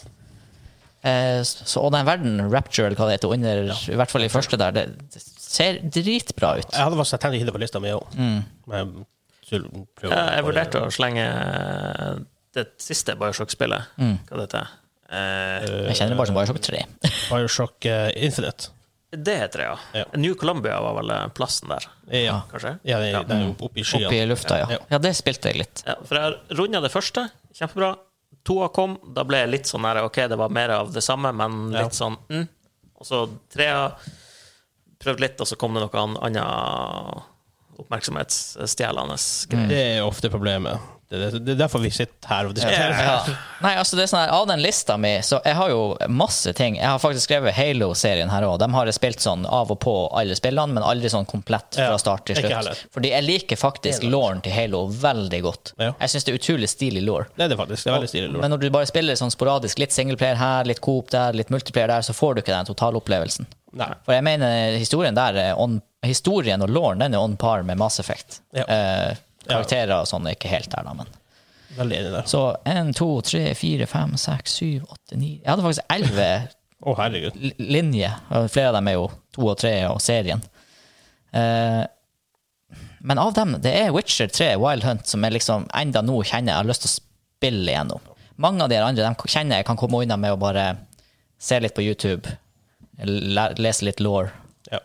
Speaker 1: Eh, så, og den verden, Rapture, eller hva det heter, under, i hvert fall i første der, det, det ser dritbra ut.
Speaker 2: Jeg hadde faktisk tenkt å hive det på lista mi òg.
Speaker 1: Mm.
Speaker 3: Ja, jeg vurderte å slenge eh, det siste Bioshock-spillet. Hva det heter Eh, det?
Speaker 1: Jeg kjenner det bare som Bioshock 3.
Speaker 2: Bioshock eh, Infinite.
Speaker 3: Det heter det, ja.
Speaker 2: Ja.
Speaker 3: New Columbia var vel eh, plassen der,
Speaker 2: Ja,
Speaker 3: kanskje?
Speaker 2: ja det, det er jo oppe
Speaker 1: Oppe Ah. i
Speaker 2: i skyene.
Speaker 1: lufta, ja.
Speaker 2: Ja.
Speaker 1: Ja, det spilte jeg litt.
Speaker 3: Ja, for jeg runda det første. Kjempebra. Toa kom. Da ble jeg litt sånn her, OK, det var mer av det samme, men
Speaker 2: Ja.
Speaker 3: litt sånn mm. Og så trea prøvde litt, og så kom det noe an- annet oppmerksomhetsstjelende greier.
Speaker 1: mm.
Speaker 2: Det er ofte problemet. Det, det, det er derfor vi sitter her og diskuterer.
Speaker 1: Ja. [LAUGHS] Nei, altså det er sånn her, Av den lista mi så Jeg har jo masse ting. Jeg har faktisk skrevet Halo-serien her òg. De har jeg spilt sånn av og på alle spillene, men aldri sånn komplett
Speaker 2: Ja,
Speaker 1: fra start til
Speaker 2: ikke heller.
Speaker 1: slutt. Fordi jeg liker faktisk lauren til Halo veldig godt.
Speaker 2: Ja.
Speaker 1: Jeg syns det er utrolig stilig law.
Speaker 2: Det er det faktisk. Det er veldig stilig. Lord.
Speaker 1: Men når du bare spiller sånn sporadisk, litt singleplayer her, litt coop der, litt multiplayer der, så får du ikke den totalopplevelsen.
Speaker 2: Nei.
Speaker 1: For jeg mener historien der er on, Historien og lauren den er on par med Mass Effect.
Speaker 2: Ja.
Speaker 1: Eh, karakterer og sånn er ikke helt der, da, men
Speaker 2: Veldig enig der.
Speaker 1: så 1, 2, 3, 4, 5, 6, 7, 8, 9 Jeg hadde faktisk 11
Speaker 2: Å, herregud.
Speaker 1: li- linjer. og Flere av dem er jo 2 og 3 og serien. Eh, men av dem, det er Witcher 3, Wild Hunt, som jeg liksom enda nå kjenner jeg har lyst til å spille igjennom. Mange av de andre de kjenner jeg kan komme unna med å bare se litt på YouTube, le- lese litt law.
Speaker 2: Ja.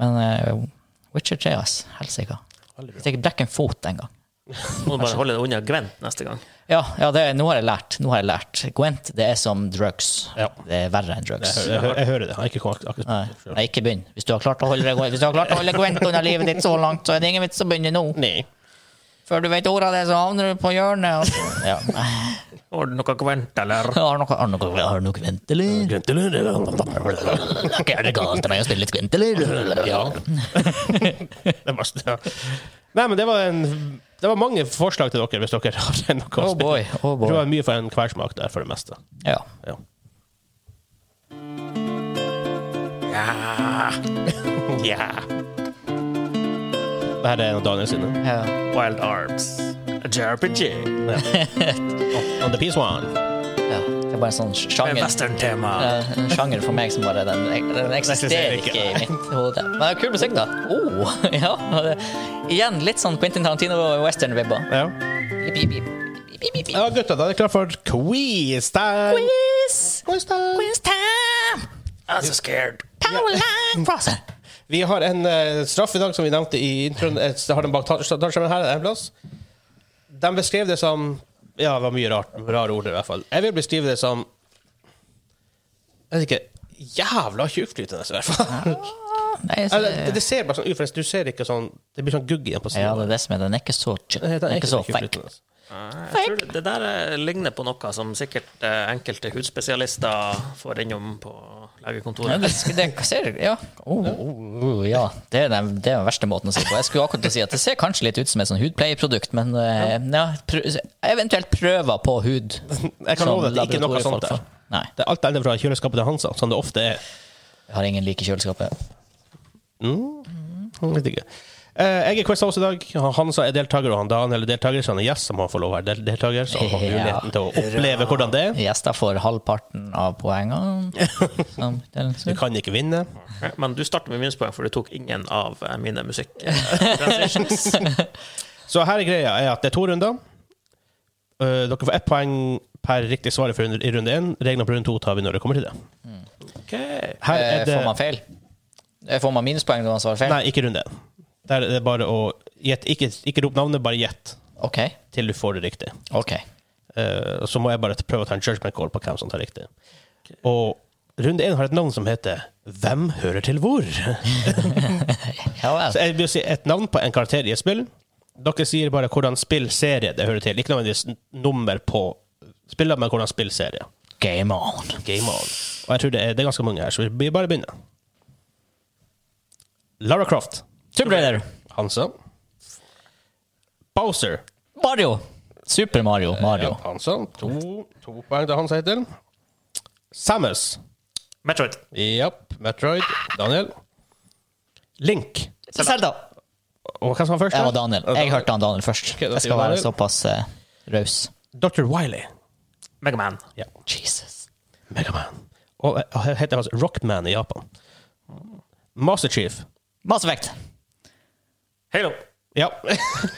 Speaker 1: Men eh, Witcher 3, ass. Helsike.
Speaker 2: Veldig
Speaker 1: Hvis jeg ikke brekker en fot en gang.
Speaker 3: Må du bare holde deg unna Gwent neste gang.
Speaker 1: Ja, ja det, nå har jeg lært. Nå har jeg lært. Gwent, det er som drugs.
Speaker 2: Ja.
Speaker 1: Det er verre enn drugs.
Speaker 2: Jeg, hører- jeg, hører- jeg hører det. Jeg har ikke kommet akkurat
Speaker 1: Nei, nei, ikke begynn. Hvis du har klart å holde, deg- hvis du har klart å holde Gwent under livet ditt så langt, så er det ingen vits å begynne nå.
Speaker 2: Nei.
Speaker 1: Før du vet ordet av det, så havner du på hjørnet. Og... [LAUGHS] Ja.
Speaker 3: Har du noe Gwent, eller?
Speaker 1: Har du noe, har du noe, har du noe Gwent, eller? Er det galt av meg å spille litt Gwent, eller?
Speaker 2: Ja. [LAUGHS] det var, ja. Nei, men det var, en, det var mange forslag til dere, hvis dere har noe å
Speaker 1: Oh
Speaker 2: spille.
Speaker 1: boy, oh
Speaker 2: Jeg tror det
Speaker 1: boy.
Speaker 2: var mye for en kversmak der, for det meste.
Speaker 1: Ja.
Speaker 2: Ja.
Speaker 3: Ja. ja.
Speaker 2: Dette er en av Daniel sine.
Speaker 1: ja.
Speaker 3: Wild Arms. JRPG.
Speaker 2: On the peace one.
Speaker 1: ja. Det er bare en sånn
Speaker 3: Med
Speaker 1: sjanger.
Speaker 3: western-tema.
Speaker 1: Eh, En sjanger for meg som bare Den, den eksisterer
Speaker 2: ikke.
Speaker 1: ikke i mitt hode. Men det er kul musikk, da. Oh, [LAUGHS] ja. og det- Igjen litt sånn Quentin Tarantino-western-vibber.
Speaker 2: Ja.
Speaker 1: Jip, jip, jip. Jip, jip, jip, jip.
Speaker 2: ja, gutta, da er det klart for quiz time.
Speaker 1: Quiz!
Speaker 2: Quiz time.
Speaker 1: Quiz time!
Speaker 3: I'm so scared.
Speaker 1: Powerline [LAUGHS] Crosser!
Speaker 2: Vi har en eh, straff i dag, som vi nevnte i introen. Eh, Jeg har den bak tar- tarmskjermen her en plass. De beskrev det som Ja, det var mye rart, rare ord, i hvert fall. Jeg vil beskrive det som Jeg vet ikke Jævla tjukkflytende, i hvert fall.
Speaker 1: Nei, så,
Speaker 2: Eller, det, det ser bare sånn ut, for du ser ikke sånn Det blir sånn gugg igjen på
Speaker 1: ja,
Speaker 2: siden.
Speaker 1: det er det som er den er ikke så chill.
Speaker 2: Det
Speaker 1: Den er ikke så fake.
Speaker 2: tjukkflytende.
Speaker 3: Jeg tror det- det der eh, ligner på noe som sikkert eh, enkelte hudspesialister får innom på
Speaker 1: Ja,
Speaker 3: legekontoret.
Speaker 1: det, sk- det ser, ja. Oh, oh, oh, ja. Det, er den, det er den verste måten å si det på. Jeg skulle akkurat til å si at Det ser kanskje litt ut som et sånn hudpleieprodukt, men eh, ja, pr eventuelt prøver på hud.
Speaker 2: [LAUGHS] Jeg kan
Speaker 1: som
Speaker 2: love deg at det ikke er noe sånt
Speaker 1: laboratoriefolk
Speaker 2: der.
Speaker 1: får. Nei.
Speaker 2: Det er alt ender fra kjøleskapet til Hansa, som det ofte er.
Speaker 1: Jeg har ingen like i kjøleskapet.
Speaker 2: Jeg vet ikke. Eh, jeg er quiz-host i dag. Han- Hansa er deltaker, og han Daniel er deltaker, så han er gjest som han får lov å være del- deltaker. Så han
Speaker 1: [LAUGHS]
Speaker 2: får
Speaker 1: Ja.
Speaker 2: muligheten til å oppleve hvordan det er.
Speaker 1: Gjester får halvparten av
Speaker 2: [LAUGHS]
Speaker 1: poengene. Sånn, Som,
Speaker 2: Du kan ikke vinne.
Speaker 3: Ok, Men du starter med minuspoeng, for du tok ingen av eh, mine musikk. [LAUGHS] eh, transitions.
Speaker 2: Så her er greia er at det er to runder. Eh, dere får ett poeng per riktig svar for runde- i runde én. Reglene på runde to tar vi når det kommer til det.
Speaker 3: Ok.
Speaker 2: Her
Speaker 1: Eh,
Speaker 2: er
Speaker 1: Får man
Speaker 2: det
Speaker 1: feil? Eh, Får man minuspoeng når man svarer feil?
Speaker 2: Nei, ikke runde én. Der er det bare å gjette. Ikke, ikke rop navnet, bare gjett
Speaker 1: OK.
Speaker 2: til du får det riktig.
Speaker 1: ok.
Speaker 2: Eh, og så må jeg bare prøve å ta en judgment call på hvem som tar riktig. Og runde én har et navn som heter Hvem hører til hvor? Så
Speaker 1: Ja vel.
Speaker 2: jeg vil si et navn på en karakter i et spill. Dere sier bare hvordan spillserie det hører til. Ikke nødvendigvis n- nummer på spillet, men hvordan spillserie.
Speaker 1: Game on.
Speaker 2: Game on. Og jeg tror det er, det er ganske mange her, så vi bare begynner. Lara Croft.
Speaker 1: Tomb Raider.
Speaker 2: Hansa. Bowser.
Speaker 1: Mario. Super Mario. Mario.
Speaker 2: Hansa. To, to poeng til Hansa hittil. Samus.
Speaker 3: Metroid.
Speaker 2: Japp. Metroid. Daniel. Link.
Speaker 1: Selda.
Speaker 2: Og hva som var først?
Speaker 1: Jeg var Daniel. Jeg hørte han Daniel først.
Speaker 2: da
Speaker 1: Jeg
Speaker 2: sier
Speaker 1: skal være
Speaker 2: Daniel.
Speaker 1: såpass eh, raus.
Speaker 2: Dr. Wiley.
Speaker 3: Megaman.
Speaker 2: Ja.
Speaker 1: Jesus.
Speaker 2: Megaman. Og eh, han heter altså Rockman i Japan. Master Chief.
Speaker 1: Mass Effect.
Speaker 3: Halo.
Speaker 2: Ja. [LAUGHS]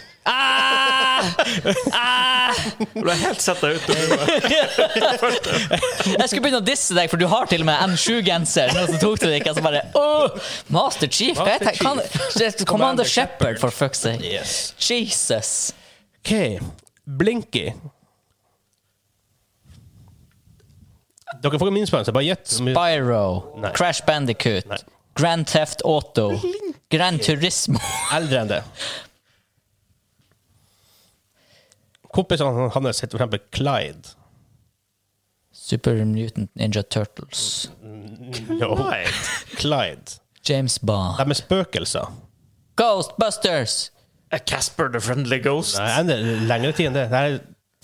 Speaker 3: Du har helt sett deg ut.
Speaker 1: Jeg skulle begynne å disse deg, for du har til og med N7-genser. Men så tok du det ikke. Og så bare åh, Master Chief. Hva heter
Speaker 2: Master
Speaker 1: kan, Commander,
Speaker 2: Commander
Speaker 1: Shepherd, for fuck's sake.
Speaker 2: yes.
Speaker 1: Jesus.
Speaker 2: OK. Blinky. Dere får ikke minuspoeng, så bare gjett. så mye-
Speaker 1: Byro.
Speaker 2: Nei.
Speaker 1: Crash Bandicoot.
Speaker 2: Nei.
Speaker 1: Grand Theft Auto. Grand Turismo.
Speaker 2: Eldre enn det. Kompisene hans heter for eksempel Clyde.
Speaker 1: [LAUGHS] Super Mutant Ninja Turtles.
Speaker 2: No. Clyde.
Speaker 1: James Bond.
Speaker 2: De er spøkelser.
Speaker 1: Ghostbusters!
Speaker 3: Eh, Casper the Friendly Ghost.
Speaker 2: Nei, det er lengre tid enn det. Det er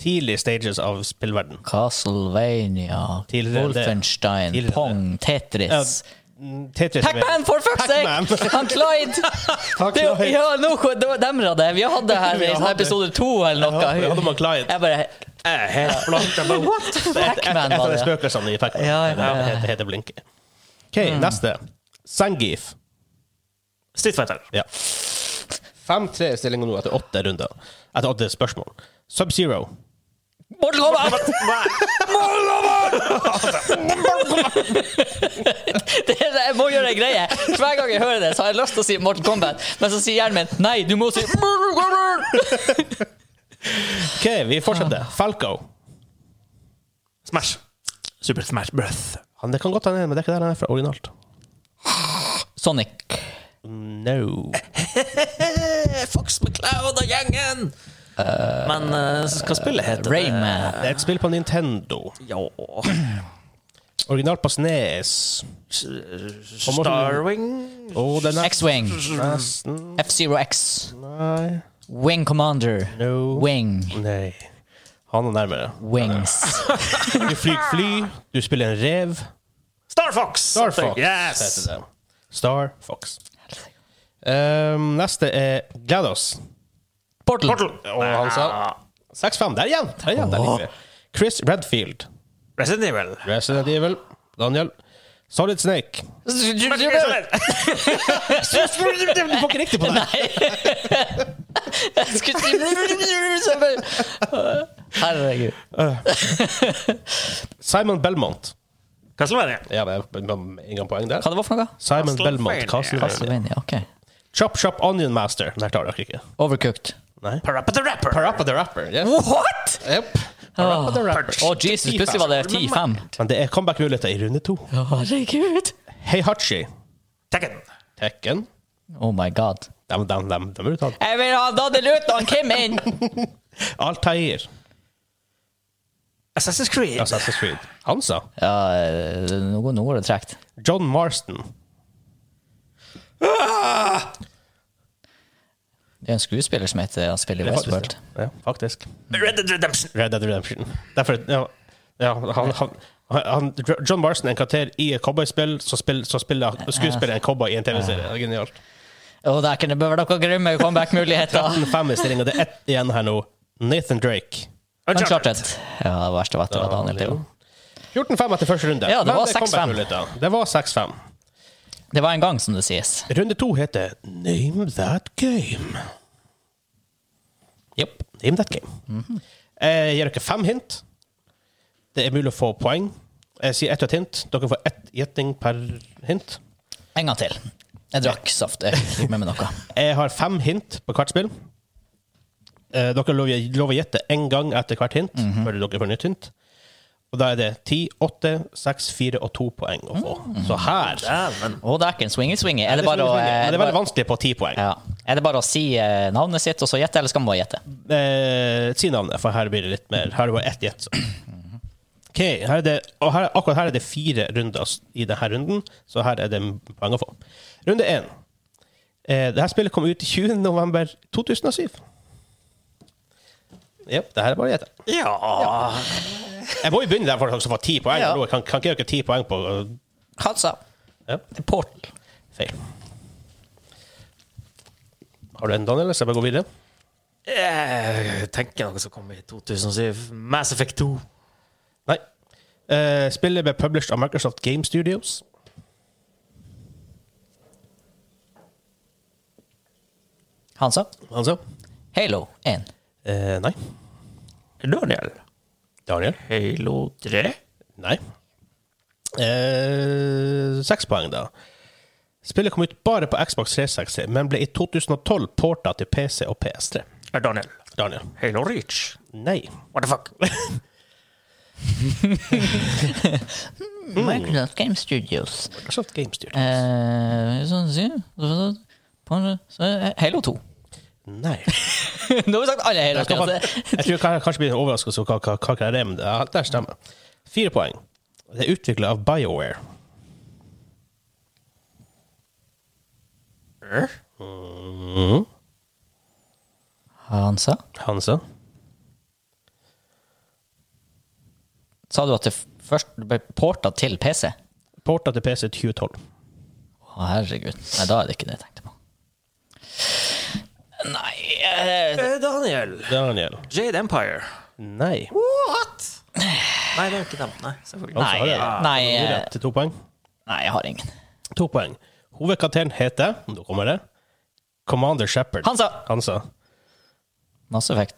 Speaker 2: tidlig stages av spillverden.
Speaker 1: Castlevania.
Speaker 2: Tidligere det.
Speaker 1: Wolfenstein.
Speaker 2: Tidligere det.
Speaker 1: Pong. Tetris.
Speaker 2: Mm, Tetris er
Speaker 1: Pac-Man, for fuck's sake!
Speaker 2: Pac-Man.
Speaker 1: Han Clyde! Det,
Speaker 2: [LAUGHS]
Speaker 1: er jo-
Speaker 2: Clyde.
Speaker 1: ja, nå kom- det var demra det. Vi hadde det her
Speaker 2: [LAUGHS] Vi
Speaker 1: i sånn
Speaker 2: hadde-
Speaker 1: episode to eller noe.
Speaker 2: Vi hadde med Clyde.
Speaker 1: Jeg bare
Speaker 3: Eh, helt blankt. Jeg bare, what?
Speaker 1: Pac-Man
Speaker 2: Et av
Speaker 1: var
Speaker 2: de
Speaker 1: det.
Speaker 2: spøkelsene i Pac-Man.
Speaker 1: Ja, Mm. ja, ja.
Speaker 2: Det heter, heter Blinke. OK, neste. Sangif.
Speaker 3: Street Fighter.
Speaker 2: Ja. 5-3 er stillinga nå etter åtte runder. Etter åtte spørsmål. Sub-Zero.
Speaker 1: Mortal Kombat! [LAUGHS] Det er, jeg må gjøre en greie. Hver gang jeg hører det, så har jeg lyst til å si Mortal Kombat, men så sier hjernen min nei, du må si Mortal Kombat!
Speaker 2: OK, vi fortsetter.
Speaker 1: Ah.
Speaker 2: Falco.
Speaker 3: Smash. Super Smash Breath.
Speaker 2: Han, det kan godt hende, men det er ikke der han er fra originalt.
Speaker 1: Sonic.
Speaker 2: No.
Speaker 3: Eh, Fox McCloud og gjengen! Men eh, hva spillet heter
Speaker 1: Rayman.
Speaker 2: Det er et spill på Nintendo.
Speaker 3: [CLEARS THROAT] det? Ja
Speaker 2: Originalt på Snes.
Speaker 3: Starwing?
Speaker 2: Oh, den er
Speaker 1: X-Wing.
Speaker 2: nesten
Speaker 1: F-Zero X.
Speaker 2: Nei.
Speaker 1: Wing Commander.
Speaker 2: No.
Speaker 1: Wing.
Speaker 2: Nei. Han er nærmere.
Speaker 1: Wings.
Speaker 2: Du flyr fly, du spiller en rev.
Speaker 3: Star Fox!
Speaker 2: Star Fox
Speaker 3: Yes!
Speaker 2: heter det. Star Fox. Ehm, neste er Glados.
Speaker 1: Portal.
Speaker 3: Mm. Portal. Ah,
Speaker 2: Og han sa 6-5. Der igjen! Der igjen, der ligger vi. Chris Redfield.
Speaker 3: Resident Evil.
Speaker 2: Resident Evil. Daniel. Solid Snake. Du får ikke riktig på det!
Speaker 1: Nei. Jeg skulle si Herregud.
Speaker 2: Simon Belmont.
Speaker 3: Castlevania.
Speaker 2: Ja, men jeg- men en gang poeng der.
Speaker 1: Hva det var for noe?
Speaker 2: Simon
Speaker 3: Castlevania.
Speaker 2: Belmont. Castlevania.
Speaker 1: Castlevania. Ok.
Speaker 2: Chop Chop Onion Master. Der klarer dere ikke.
Speaker 1: Overcooked.
Speaker 2: Nei.
Speaker 3: Parappa the Rapper.
Speaker 2: Parappa the Rapper. Yes.
Speaker 1: What?!
Speaker 2: Yep. Parappa the Rapper.
Speaker 1: Å, Jesus, plutselig var det 10-5.
Speaker 2: Men det er comeback-muligheter i runde to.
Speaker 1: Herregud.
Speaker 2: Heihachi.
Speaker 3: Tekken.
Speaker 2: Tekken.
Speaker 1: Oh my god.
Speaker 2: Dem, dem, dem, dem er uttalt.
Speaker 1: Jeg vil ha Daddy Luton Kim inn!
Speaker 2: Altair.
Speaker 3: Assassin's Creed.
Speaker 2: Assassin's Creed. Hansa.
Speaker 1: Ja, eh, nå går nå går det tregt.
Speaker 2: John Marston.
Speaker 1: Det er en skuespiller som heter Han spiller i
Speaker 2: Det er faktisk-
Speaker 1: Westworld.
Speaker 2: Ja, faktisk.
Speaker 3: Red Dead Redemption.
Speaker 2: Red Dead Redemption. Derfor, ja, ja han, han, han, John Marston er en karakter i et cowboyspill, så, spill, så spiller skuespiller en cowboy i en TV-serie. Det er Genialt.
Speaker 1: Og der kunne det være noen grimme comeback-muligheter.
Speaker 2: 13-5 i stillinga. Det er ett igjen her nå. Nathan Drake.
Speaker 1: Uncharted. Ja, det verste jeg vet, det var Daniel Leo.
Speaker 2: 14-5 etter første runde.
Speaker 1: Ja, det
Speaker 2: Men
Speaker 1: var
Speaker 2: er
Speaker 1: 6-5.
Speaker 2: comeback-muligheter. Det var 6-5.
Speaker 1: Det var en gang, som det sies.
Speaker 2: Runde to heter Name That Game. Jepp. Name That Game.
Speaker 1: Mhm.
Speaker 2: Eh, jeg gir dere fem hint. Det er mulig å få poeng. Jeg sier ett og et hint. Dere får ett gjetning per hint.
Speaker 1: En gang til. Jeg drakk saft. Jeg fikk med meg noe.
Speaker 2: Jeg har fem hint på hvert spill. Eh, dere lover, lover å gjette én gang etter hvert hint
Speaker 1: Mhm.
Speaker 2: før dere får nytt hint. Og da er det ti, åtte, seks, fire og to poeng å få. Så her
Speaker 3: Dæven.
Speaker 1: Å, dæken. Swingy-swingy. Er det Mm. bare å
Speaker 2: Men
Speaker 1: eh,
Speaker 2: det er veldig vanskelig på ti poeng.
Speaker 1: ja. Er det bare å si eh, navnet sitt, og så gjette, eller skal man bare gjette?
Speaker 2: eh, si navnet, for her blir det litt mer. Her er det bare ett gjett. så. Ok, her er det, og her, akkurat her er det fire runder s- i denne runden, så her er det poeng å få. Runde én. Eh, dette spillet kom ut 20. november 2007. Jepp, det her er bare å gjette.
Speaker 3: Ja.
Speaker 2: Jeg må jo begynne der for at dere får ti poeng.
Speaker 1: Ja.
Speaker 2: Nå, Kan, kan ikke dere ti poeng på øh,
Speaker 1: Hansa.
Speaker 2: Ja.
Speaker 1: Portal.
Speaker 2: feil? Har du en, Daniel? Skal jeg bare gå videre?
Speaker 3: Jeg tenker noe som kom i 2007. Mass Effect 2.
Speaker 2: Nei. Eh, spillet ble published av Microsoft Game Studios.
Speaker 1: Hansa.
Speaker 2: Altså?
Speaker 1: Halo 1.
Speaker 2: Eh, nei.
Speaker 3: Daniel.
Speaker 2: Daniel?
Speaker 3: Halo 3.
Speaker 2: Nei. Eh, seks poeng, da. Spillet kom ut bare på Xbox 360, men ble i 2012 porta til PC og PS3.
Speaker 3: Daniel.
Speaker 2: Daniel?
Speaker 3: Halo Reach.
Speaker 2: Nei.
Speaker 3: What the fuck?
Speaker 1: Microsoft Game Studios.
Speaker 2: Microsoft Game Studio.
Speaker 1: Eh, sånn å si. Så- så- så- Halo 2.
Speaker 2: Nei.
Speaker 1: [LAUGHS] Nå har vi sagt alle hele
Speaker 2: Jeg, skal,
Speaker 1: akkurat [LAUGHS] det.
Speaker 2: fakt- jeg tror kan- kanskje det blir en overraskelse over hva- hva hva det er, men det er- det stemmer. Fire poeng. Det er utvikla av BioWare. [LAUGHS]
Speaker 1: Hansa?
Speaker 2: Hansa?
Speaker 1: Sa du at det f- først ble porta til PC? Å,
Speaker 2: Porta til PC 2012.
Speaker 1: herregud. Nei, da er det ikke det jeg tenkte på. Nei eh,
Speaker 3: Eh, Daniel.
Speaker 2: Daniel?
Speaker 3: Jade Empire.
Speaker 2: Nei.
Speaker 3: What? Nei, det er ikke dem. Nei, selvfølgelig.
Speaker 1: Nei,
Speaker 2: har jeg det.
Speaker 1: nei, eh,
Speaker 2: Rett til to poeng.
Speaker 1: nei, jeg har ingen.
Speaker 2: To poeng. Hovedkarakteren heter Nå kommer det. Commander Shepherd.
Speaker 1: Hansa.
Speaker 2: Hansa.
Speaker 1: Mass Effect.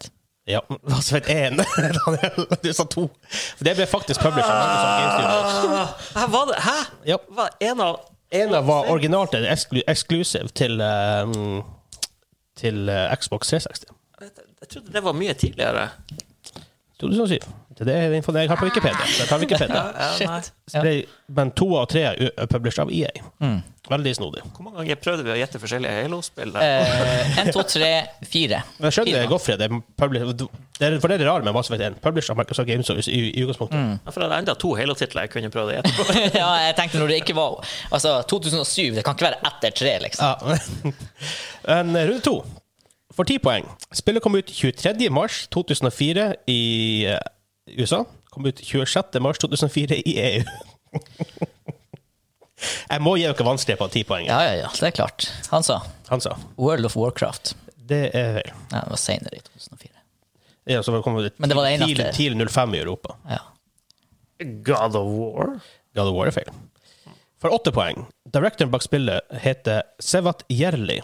Speaker 2: Ja. [LAUGHS] Hva som het én? Daniel, du sa to. For det ble faktisk publisher. Ah.
Speaker 3: Hæ, var det? Hæ?
Speaker 2: Ja.
Speaker 3: Var det en av
Speaker 2: En av var originalt en eksklu eksklusiv til, eh, mm, til eh, Xbox 360.
Speaker 3: Jeg trodde det var mye tidligere.
Speaker 2: 2007. Det er den infoen jeg har på Wikipedia. Så jeg tar
Speaker 3: [LAUGHS]
Speaker 2: Wikipedia.
Speaker 3: Ah,
Speaker 1: Shit.
Speaker 3: nei.
Speaker 2: Så ble, men to av tre er u- published av EA. Veldig snodig.
Speaker 3: Hvor mange ganger prøvde vi å gjette forskjellige Halo-spill?
Speaker 1: Eh, 1, 2, 3, 4.
Speaker 2: Men jeg skjønner Goffrey. Det er publi- det er, for det er det rare med Mass Effect 1. Published av Microsoft Games Service i, i utgangspunktet.
Speaker 3: Ja, For det er enda to Halo-titler jeg kunne prøvd å gjette på.
Speaker 1: [LAUGHS]
Speaker 3: [LAUGHS]
Speaker 1: ja, jeg tenkte når det ikke var Altså, 2007, det kan ikke være etter tre, liksom.
Speaker 2: Ja. En runde to. For ti poeng. Spillet kom ut 23. mars 2004 i eh, USA. Kom ut 26. mars 2004 i EU. Jeg må gi dere vanskelige på ti poeng.
Speaker 1: Ja, ja, ja, det er klart. Han sa
Speaker 2: Han sa
Speaker 1: World of Warcraft.
Speaker 2: det er feil.
Speaker 1: Ja, det var senere, i 2004.
Speaker 2: Ja, så kom det
Speaker 1: Men det var det ene
Speaker 2: tidlig,
Speaker 1: etter.
Speaker 2: tidlig 05 i Europa.
Speaker 1: Ja.
Speaker 3: God of War?
Speaker 2: God of War er feil. For åtte poeng. Directoren bak spillet heter Sevat Jerli.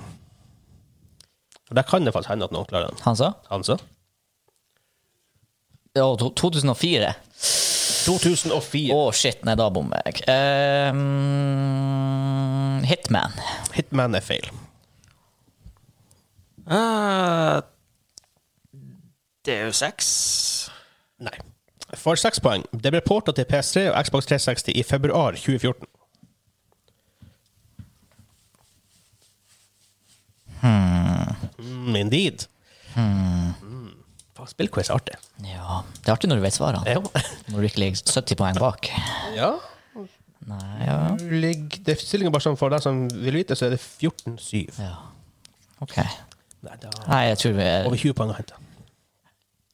Speaker 2: Og Der kan det faktisk hende at noen klarer den.
Speaker 1: Han sa
Speaker 2: Han sa
Speaker 1: Ja, to- 2004.
Speaker 2: 2004.
Speaker 1: Å, shit, nei, da bommer jeg. Ehm, Hitman.
Speaker 2: Hitman er feil.
Speaker 3: Uh, Deus Ex?
Speaker 2: Nei. For seks poeng. Det ble porta til PS3 og Xbox 360 i februar 2014. Mm, indeed. Mm. Faen, Spillquiz er artig.
Speaker 1: Ja, Det er artig når du vet svarene.
Speaker 2: Ja.
Speaker 1: Når du ikke ligger 70 poeng bak.
Speaker 2: [LAUGHS] ja.
Speaker 1: Nei, ja.
Speaker 2: Ligger, det stillinga bare sånn for deg som vil vite, så er det 14-7.
Speaker 1: ja. OK.
Speaker 2: Nei, da
Speaker 1: Nei, jeg tror vi
Speaker 2: Over 20 poeng å hente.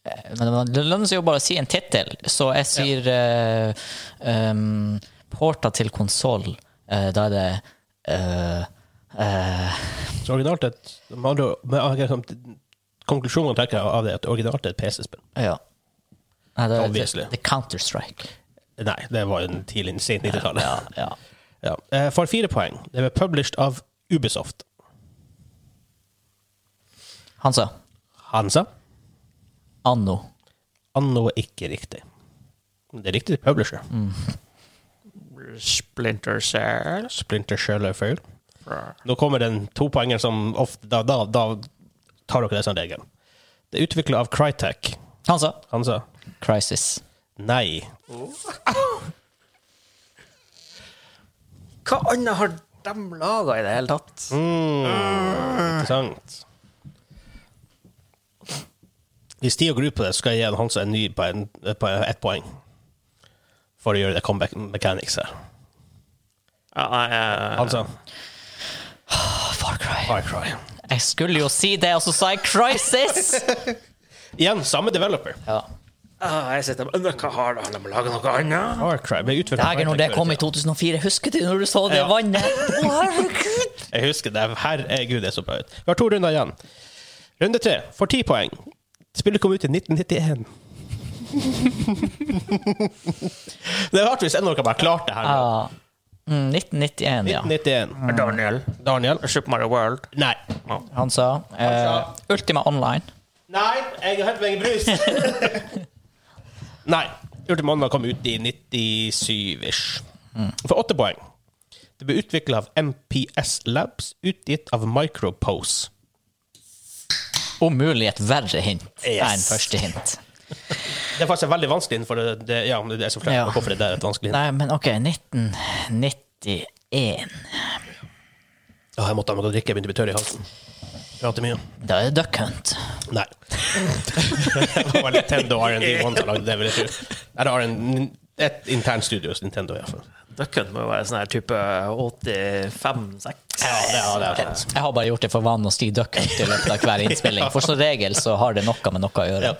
Speaker 1: Eh, Men det- det lønner seg jo bare å si en tittel, så jeg sier eh, um, Porta til konsoll. da er det eh, eh,
Speaker 2: Så originalt et med andre- med- ok, sånn, Konklusjonen trekker jeg av det at originalt er et PC-spill.
Speaker 1: Ja. Nei, det, det,
Speaker 2: Obviously.
Speaker 1: det er Counter-Strike.
Speaker 2: Nei, det var jo en tidlig sent 90-tallet.
Speaker 1: Ja, ja.
Speaker 2: Ja. eh, For fire poeng. Det ble published av Ubisoft.
Speaker 1: Han sa
Speaker 2: Han sa
Speaker 1: anno.
Speaker 2: anno er ikke riktig. Det er riktig publisher.
Speaker 3: Splinter Cell?
Speaker 2: Splinter Shell er feil. Nå kommer den topoengeren som ofte da, da, da tar dere det som regel. Det er utvikla av Crytek.
Speaker 1: Han sa
Speaker 2: Han sa
Speaker 1: Crisis.
Speaker 2: nei.
Speaker 3: Hva annet har de laga i det hele tatt?
Speaker 2: Interessant. Hvis de går ut på det, skal jeg gi Hansa en ny på, en, på ett poeng. For å gjøre det comeback mechanics her.
Speaker 3: Ja, nei, eh,
Speaker 2: Hansa,
Speaker 1: Far Cry.
Speaker 2: Far Cry.
Speaker 1: Jeg skulle jo si det, og så sa jeg Crisis!
Speaker 2: Igjen, samme developer.
Speaker 1: [LAUGHS] ja.
Speaker 3: ah, jeg sitter med Hva har de de laga noe annet?
Speaker 2: Far Cry ble utviklet
Speaker 1: Dagen når det kom i 2004, husker du når du så det
Speaker 2: Ja.
Speaker 1: vannet? [LAUGHS] Mm, Å, herregud!
Speaker 2: Jeg husker det. Herregud, det er så bra ut. Vi har to runder igjen. Runde tre får ti poeng. Spillet kom ut i 1991. [LAUGHS] det er rart hvis en av dere bare klarte det her. nå.
Speaker 1: Ja. Mm, 1991, ja. Mm.
Speaker 2: 1991.
Speaker 3: Daniel.
Speaker 2: Daniel?
Speaker 3: Super Mario World.
Speaker 2: Nei.
Speaker 1: Han sa eh,
Speaker 2: sa-
Speaker 1: Ultima Online.
Speaker 2: Nei, jeg har hentet meg en brus. [LAUGHS] Nei. Ultimanna kom ut i 97-ish.
Speaker 1: Mm.
Speaker 2: For åtte poeng. Det ble utvikla av MPS Labs, utgitt av Micropose.
Speaker 1: Om mulig et verre hint enn
Speaker 2: Yes.
Speaker 1: første hint.
Speaker 2: Det er faktisk veldig vanskelig innenfor det, det Ja, men det er så flere
Speaker 1: Ja.
Speaker 2: hvorfor det der er et vanskelig hint.
Speaker 1: Nei, men OK, 1991.
Speaker 2: Å, jeg måtte ha noe å drikke, jeg begynte å bli tørr i halsen. Prater mye.
Speaker 1: Da er det Duck Hunt.
Speaker 2: [LAUGHS] Nei. det var Nintendo R&D1 som lagde det. vil jeg tro. Eller R&D et internt studio hos Nintendo, iallfall.
Speaker 3: Ducken må jo være sånn her type 85-6.
Speaker 2: Ja, det har det. er sant.
Speaker 1: Jeg har bare gjort det for vanen å skrive duck hunt i løpet av hver
Speaker 2: [LAUGHS]
Speaker 1: innspilling. For som regel så har det noe med noe å gjøre.
Speaker 2: Ja.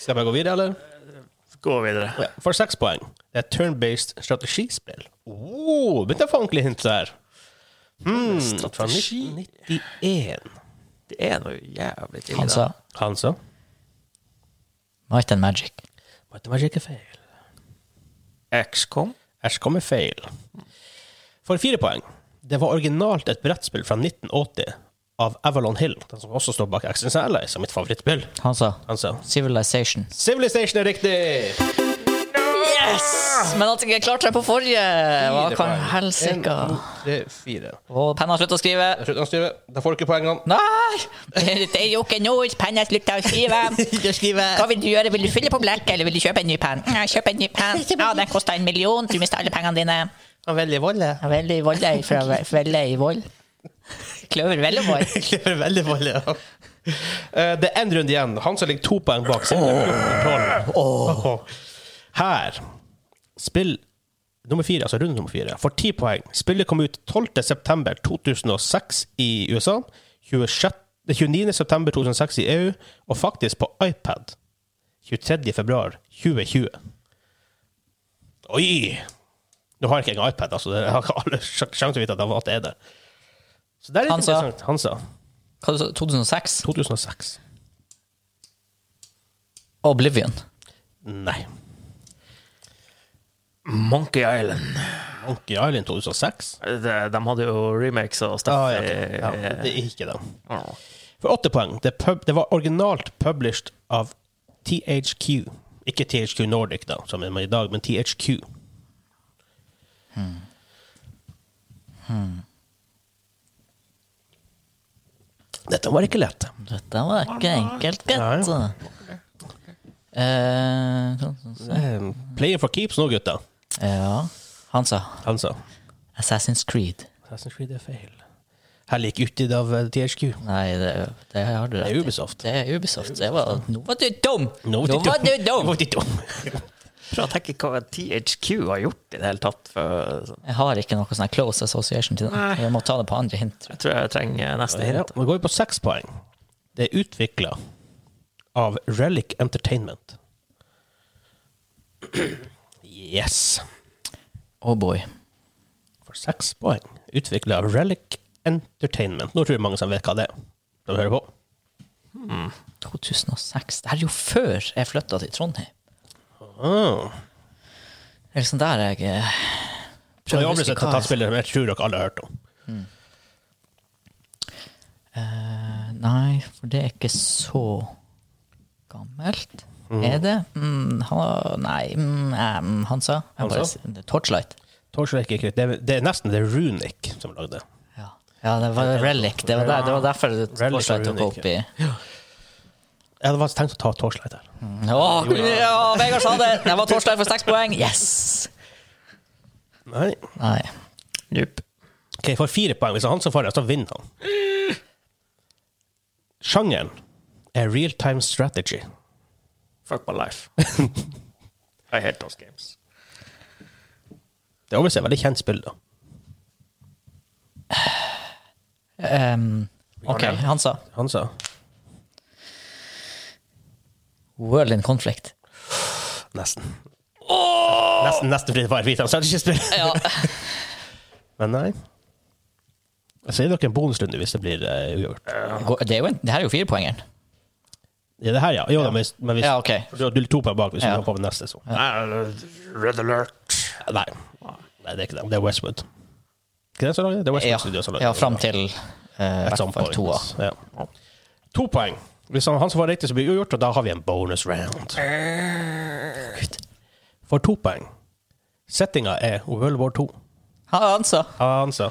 Speaker 2: Skal jeg gå videre, eller?
Speaker 3: Gå videre.
Speaker 2: Ja. For seks poeng. Det er et turn-based strategispill. Oh, begynte jeg å få ordentlig hint der. Hmm, fra
Speaker 3: Strategi?
Speaker 2: 1991.
Speaker 3: Det er noe jævlig tidlig.
Speaker 1: Han sa
Speaker 2: Han sa
Speaker 1: Might and Magic.
Speaker 2: Matematikk er feil.
Speaker 3: XCOM.
Speaker 2: Æsj, kom med feil. For fire poeng. Det var originalt et brettspill fra 1980 av Avalon Hill, den som også står bak Axis Allies, som mitt favorittspill.
Speaker 1: Han sa
Speaker 2: Han sa
Speaker 1: Civilization.
Speaker 2: Civilization er riktig!
Speaker 1: Yes! Men at jeg ikke klarte det på forrige, hva
Speaker 2: Fire
Speaker 1: kan
Speaker 2: poeng.
Speaker 1: helsike
Speaker 2: En, to, tre, fire.
Speaker 1: Og penna sluttet å skrive.
Speaker 2: Slutt å styre. Da får du ikke poengene.
Speaker 1: Nei! Det er jo ikke noe penna slutta å skrive. Hva vil [LAUGHS] du gjøre? Vil du fylle på blekket, eller vil du kjøpe en ny penn? Nei, Kjøp en ny penn. Ja, den kosta en million. Du mister alle pengene dine.
Speaker 2: Han veldig voldelig.
Speaker 1: Ja, Veldig voldelig fra Veldig vold. Kløver Vellevold.
Speaker 2: Klipper veldig voldelig. ja. Eh, Det er én runde igjen. Han som ligger to poeng bak. sitter med 14-12. Her Spill nummer fire, altså runde nummer fire, for ti poeng. Spillet kom ut 12.9.2006 i USA, 29.9.2006 i EU, og faktisk på iPad 23.2.2020. Oi! Nå har jeg ikke engang iPad, altså. Jeg har ikke alle sj- sjanser til å vite at det- at det er der. Så det er litt
Speaker 1: Han sa-
Speaker 2: interessant. Han sa
Speaker 1: Hva sa du? 2006?
Speaker 2: 2006.
Speaker 1: Oblivion.
Speaker 2: Nei.
Speaker 3: Monkey Island.
Speaker 2: Monkey Island 2006?
Speaker 3: Det, de hadde jo remakes og stuff.
Speaker 2: Ah, ja,
Speaker 3: Eh,
Speaker 2: ok. ja, det er ikke det.
Speaker 3: Ja.
Speaker 2: For åtte poeng. Det, pub, det var originalt published av THQ. Ikke THQ Nordic, da, som er med i dag, men THQ. Hmm. Dette var ikke lett.
Speaker 1: Dette var ikke enkelt, gutt. Eh, sånn, sånn, sånn.
Speaker 2: Um, Player for keeps nå, gutta.
Speaker 1: Ja. Han sa
Speaker 2: Han sa.
Speaker 1: Assassin's Creed.
Speaker 2: Assassin's Creed er feil. Her ligger uti av eh, THQ.
Speaker 1: Nei, det, det har du rett
Speaker 2: Det
Speaker 1: i.
Speaker 2: er Ubisoft.
Speaker 1: Det er Ubisoft. Det var, nå var du dum!
Speaker 2: Nå var de
Speaker 1: du
Speaker 2: dumme. Nå
Speaker 1: dum!
Speaker 2: var de dumme.
Speaker 3: Prøv å tenke hva THQ har gjort i det hele tatt. For, sånn.
Speaker 1: Jeg har ikke noe sånn her close association til det.
Speaker 3: Nei.
Speaker 1: Jeg må ta det på andre hint. tror jeg.
Speaker 3: Jeg tror jeg trenger neste
Speaker 2: Ja,
Speaker 3: hint.
Speaker 2: nå går vi på seks poeng. Det er utvikla av Relic Entertainment. Yes.
Speaker 1: Oh boy.
Speaker 2: For seks poeng. Utvikla av Relic Entertainment. Nå tror jeg mange som vet hva det er. De hører på.
Speaker 1: 2006. Det her er jo før jeg flytta til Trondheim.
Speaker 2: Ah.
Speaker 1: Det er liksom der jeg eh,
Speaker 2: Så det
Speaker 1: prøver å huske
Speaker 2: er obviously
Speaker 1: hva
Speaker 2: et tattspiller som jeg tror dere alle har hørt om.
Speaker 1: Eh, Nei, for det er ikke så gammelt. Er det? Mm, han, nei, mm, eh, mm, han sa jeg
Speaker 2: Han
Speaker 1: bare,
Speaker 2: sa?
Speaker 1: sier- Torchlight.
Speaker 2: Torchlight Kick, Det er, det er nesten The Runic som lagde det.
Speaker 1: Ja. ja, det var Relic. Det var, der, det var derfor Torchlight tok
Speaker 2: Runic,
Speaker 1: opp i
Speaker 2: Jeg hadde faktisk tenkt å ta Torchlight her.
Speaker 1: Åh, ja, Vegard sa det! Det var Torstein for seks poeng. Yes!
Speaker 2: Nei.
Speaker 1: Nei.
Speaker 3: Nope.
Speaker 2: Ok, For fire poeng. Hvis det er han som får det, så vinner han. Sjangeren er real time strategy.
Speaker 3: Fuck my [LAUGHS] life. I hate those games.
Speaker 2: Det er obviously et veldig kjent spill, da.
Speaker 1: Ehm, OK, han sa
Speaker 2: Han sa
Speaker 1: World in conflict.
Speaker 2: nesten. Nesten, nesten fordi det var et hvit strategispill.
Speaker 1: Ja.
Speaker 2: [LAUGHS] Men nei. Jeg sier dere en bonusrunde hvis det blir eh, uavgjort.
Speaker 1: Gå- Det, er jo en, det her er jo firepoengeren.
Speaker 2: Ja, det her, ja. Jo, da, men hvis- Men hvis,
Speaker 1: Ja, ok.
Speaker 2: for du, du er to poeng bak hvis
Speaker 1: Ja.
Speaker 2: du hopper på med neste, så.
Speaker 3: Nei, Red Alert.
Speaker 2: Nei. nei, det er ikke det. Det er Westwood. Ikke det som lager det? Det er Westwood
Speaker 1: Ja,
Speaker 2: Studios som lager
Speaker 1: ja
Speaker 2: det.
Speaker 1: fram til eh,
Speaker 2: At
Speaker 1: hvert
Speaker 2: some
Speaker 1: fall
Speaker 2: point.
Speaker 1: toa.
Speaker 2: Ja. To poeng. Hvis han, han som var riktig, så blir det uavgjort, og da har vi en bonus round. For to poeng. Settinga er World War 2.
Speaker 1: Han, han sa
Speaker 2: Han sa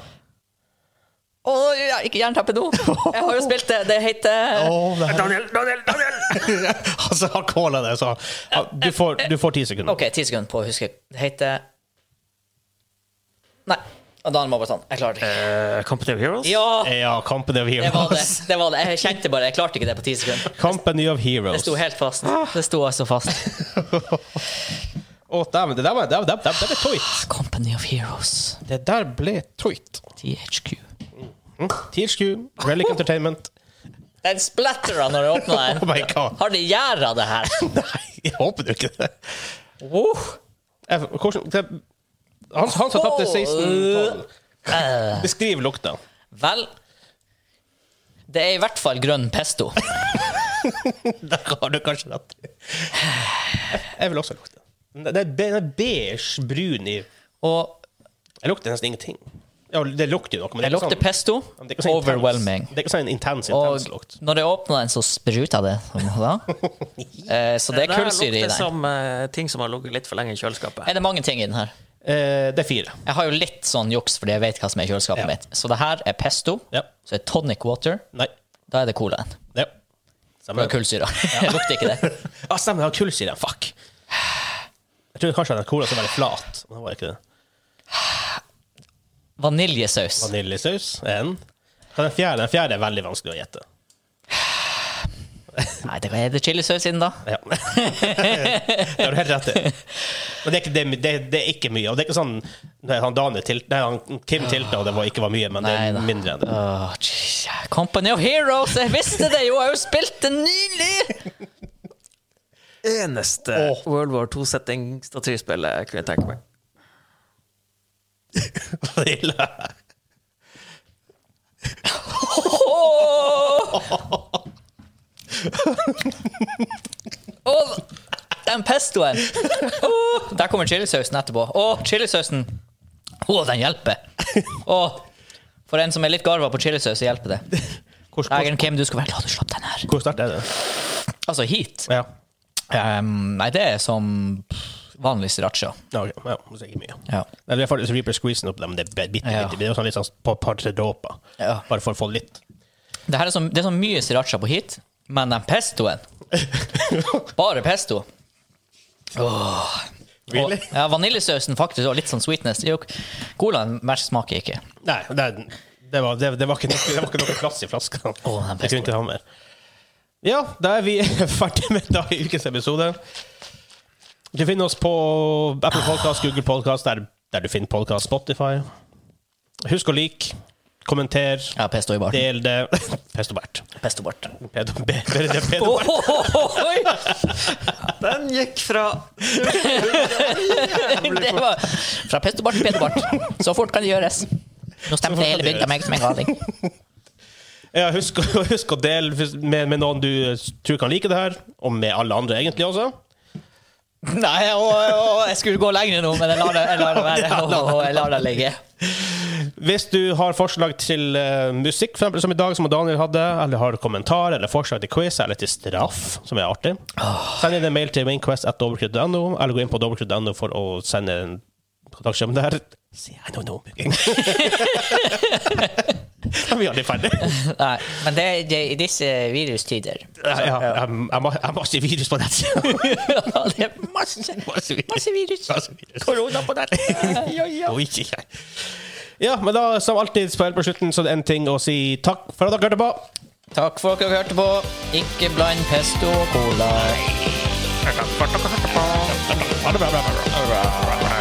Speaker 1: Å, ja, ikke jernteppe nå! Jeg har jo spilt det. Det heter
Speaker 2: Åh, det her-
Speaker 3: Daniel, Daniel, Daniel!
Speaker 2: [LAUGHS] Altså, han kåla det, så han, du, får, du får ti sekunder.
Speaker 1: OK, ti sekunder på å huske. Det heter Nei. Og da er man bare sånn Jeg klarer det ikke.
Speaker 3: Eh, Company of Heroes?
Speaker 1: Ja!
Speaker 2: Ja, Company of
Speaker 1: Det var det.
Speaker 2: Heroes.
Speaker 1: det var det. Jeg kjente bare Jeg klarte ikke det på ti sekunder.
Speaker 2: Company of
Speaker 1: Det
Speaker 2: Heroes.
Speaker 1: sto helt fast. Det sto altså fast.
Speaker 2: Å, dæven, det der var- det der- det der- det ble tøyt.
Speaker 1: Company of Heroes.
Speaker 2: Det der ble tøyt.
Speaker 1: THQ.
Speaker 2: Mm. THQ,
Speaker 1: [LAUGHS]
Speaker 2: Relic Entertainment.
Speaker 1: Den splattera når jeg åpna
Speaker 2: Oh
Speaker 1: den.
Speaker 2: my god.
Speaker 1: Har det gjæra, det her?
Speaker 2: Nei, jeg håper du ikke det.
Speaker 1: Wow.
Speaker 2: Oh. Jeg- Hvordan det, Han, han som tapte 16-12.
Speaker 1: Eh,
Speaker 2: Beskriv lukta.
Speaker 1: vel Det er i hvert fall grønn pesto.
Speaker 2: Der har du kanskje rett. Jeg vil også lukte. Men Det det er be- den er beige brun i
Speaker 1: Og
Speaker 2: Jeg lukter nesten ingenting. Ja, det lukter jo noe, men
Speaker 1: jeg
Speaker 2: det er ikke
Speaker 1: lukter
Speaker 2: sånn,
Speaker 1: pesto.
Speaker 2: det er ikke sånn intens-
Speaker 1: Overwhelming.
Speaker 2: Det er ikke sånn intens, intens
Speaker 1: Og
Speaker 2: lukt.
Speaker 1: når jeg åpna den, så spruta det. som
Speaker 2: [LAUGHS]
Speaker 1: da. Eh, Så det er
Speaker 3: her
Speaker 1: kullsyre i
Speaker 3: lukter
Speaker 1: den.
Speaker 3: som eh, ting som har ligget litt for lenge i kjøleskapet.
Speaker 1: Er det mange ting i den her?
Speaker 2: Eh, det er fire.
Speaker 1: Jeg har jo litt sånn juks fordi jeg vet hva som er i kjøleskapet
Speaker 2: Ja.
Speaker 1: mitt. Så det her er pesto.
Speaker 2: Ja.
Speaker 1: Så er det tonic water.
Speaker 2: Nei.
Speaker 1: Da er det colaen.
Speaker 2: Ja.
Speaker 1: Det er
Speaker 2: Stemmer.
Speaker 1: kullsyra.
Speaker 2: [LAUGHS]
Speaker 1: Jeg lukter ikke det.
Speaker 2: Ah, stemmer, det har kullsyre. Fuck. Jeg trodde kanskje at cola skulle være flat. Men det var ikke det.
Speaker 1: Vaniljesaus.
Speaker 2: Vaniljesaus en. Hva er Den fjerde, den fjerde er veldig vanskelig å gjette.
Speaker 1: Nei, det er det chilisaus i den, da?
Speaker 2: Ja. [LAUGHS] det har du helt rett i. Men det er, ikke, det, er- det, er- det er ikke mye. Og det er ikke sånn nei, han Daniel til, nei, han Kim tilta, og det var, ikke var mye, men det er
Speaker 1: Neida.
Speaker 2: mindre enn det.
Speaker 1: Åh, jeez. Company of Heroes, jeg visste det jo! Jeg har jo spilt det nylig!
Speaker 3: Eneste World War 2-setting-strategispillet jeg kunne tenke meg.
Speaker 2: [LAUGHS] Det er ille.
Speaker 1: Åh! Åh, den pestoen! Åh, der kommer chilisausen etterpå. Åh, chilisausen! Åh, den hjelper! Åh, for en som er litt garva på chilisaus, så hjelper det.
Speaker 2: Hvor, hvor,
Speaker 1: Egen Kim, du skal være glad du slapp den her.
Speaker 2: hvor sterkt er det?
Speaker 1: Altså, hit.
Speaker 2: Ja.
Speaker 1: Ehm, nei, det er som vanlig sriracha.
Speaker 2: Ja, ok. ja, så er det ikke mye.
Speaker 1: Ja.
Speaker 2: Nei, det er faktisk Reaper squeezen opp dem, det er bitte, bitte,
Speaker 1: Ja.
Speaker 2: bitte. Det er sånn litt sånn på et par-tre dråper.
Speaker 1: Ja.
Speaker 2: Bare for å få litt.
Speaker 1: Det, her er så, det er så mye sriracha på hit, men den [LAUGHS] pestoen Bare pesto. Og,
Speaker 2: Really?
Speaker 1: ja, vaniljesausen faktisk, og litt sånn sweetness. Jo, colaen match smaker ikke.
Speaker 2: Nei, det, er- det, var, det, det, var ikke noe, det var ikke noe plass i flaska.
Speaker 1: Å, den
Speaker 2: jeg kunne ikke ha mer. Ja, da er vi [LAUGHS] ferdig med dag i ukens episode. Du finner oss på Apple Podcast, Google Podcast, der, der du finner podcast, Spotify. Husk å like, kommenter,
Speaker 1: Ja, pesto i barten.
Speaker 2: del det. [LAUGHS] Pesto bært.
Speaker 1: Pesto bart.
Speaker 2: Pedo, be- be- be- pedo,
Speaker 1: Oh, oh, oh, oi! [LAUGHS]
Speaker 3: Den gikk fra [LAUGHS]
Speaker 1: Det var fra pestobart til pedobart. Så fort kan det gjøres. Nå
Speaker 2: fort
Speaker 1: stemte
Speaker 2: kan
Speaker 1: hele
Speaker 2: det
Speaker 1: bygda
Speaker 2: gjøres.
Speaker 1: meg som en galing.
Speaker 2: Ja, husk, [LAUGHS] å- husk å dele med, med noen du tror kan like det her, og med alle andre egentlig også.
Speaker 1: [LAUGHS] Nei, å, å, jeg skulle gå lenger nå, men jeg lar det, jeg lar det [LAUGHS] være. Å, å, jeg lar det ligge.
Speaker 2: Hvis du har forslag til eh, musikk, for eksempel, som i dag, som Daniel hadde, eller har kommentar eller forslag til quiz eller til straff, som er artig, send inn en mail til mainquest.dobbeltkrutt.no, eller gå inn på dobbeltkrutt.no for å sende en kontaktskjerm der. Si, I [LAUGHS] don't know. Da er vi aldri ferdig.
Speaker 1: Nei, men det, det i disse virustider
Speaker 2: Ja, ja, jeg, jeg, må- jeg må si virus på [LAUGHS] nettsida.
Speaker 1: [LAUGHS] Ja, det er masse, masse virus.
Speaker 2: Korona på nett! ja, ja. Oi, ja. ja, men da, som alltid på helt på slutten, så er det en ting å si takk for at dere hørte på.
Speaker 1: Takk for at dere hørte på. Ikke bland pesto og cola.
Speaker 2: Ha det bra, bra, bra, bra.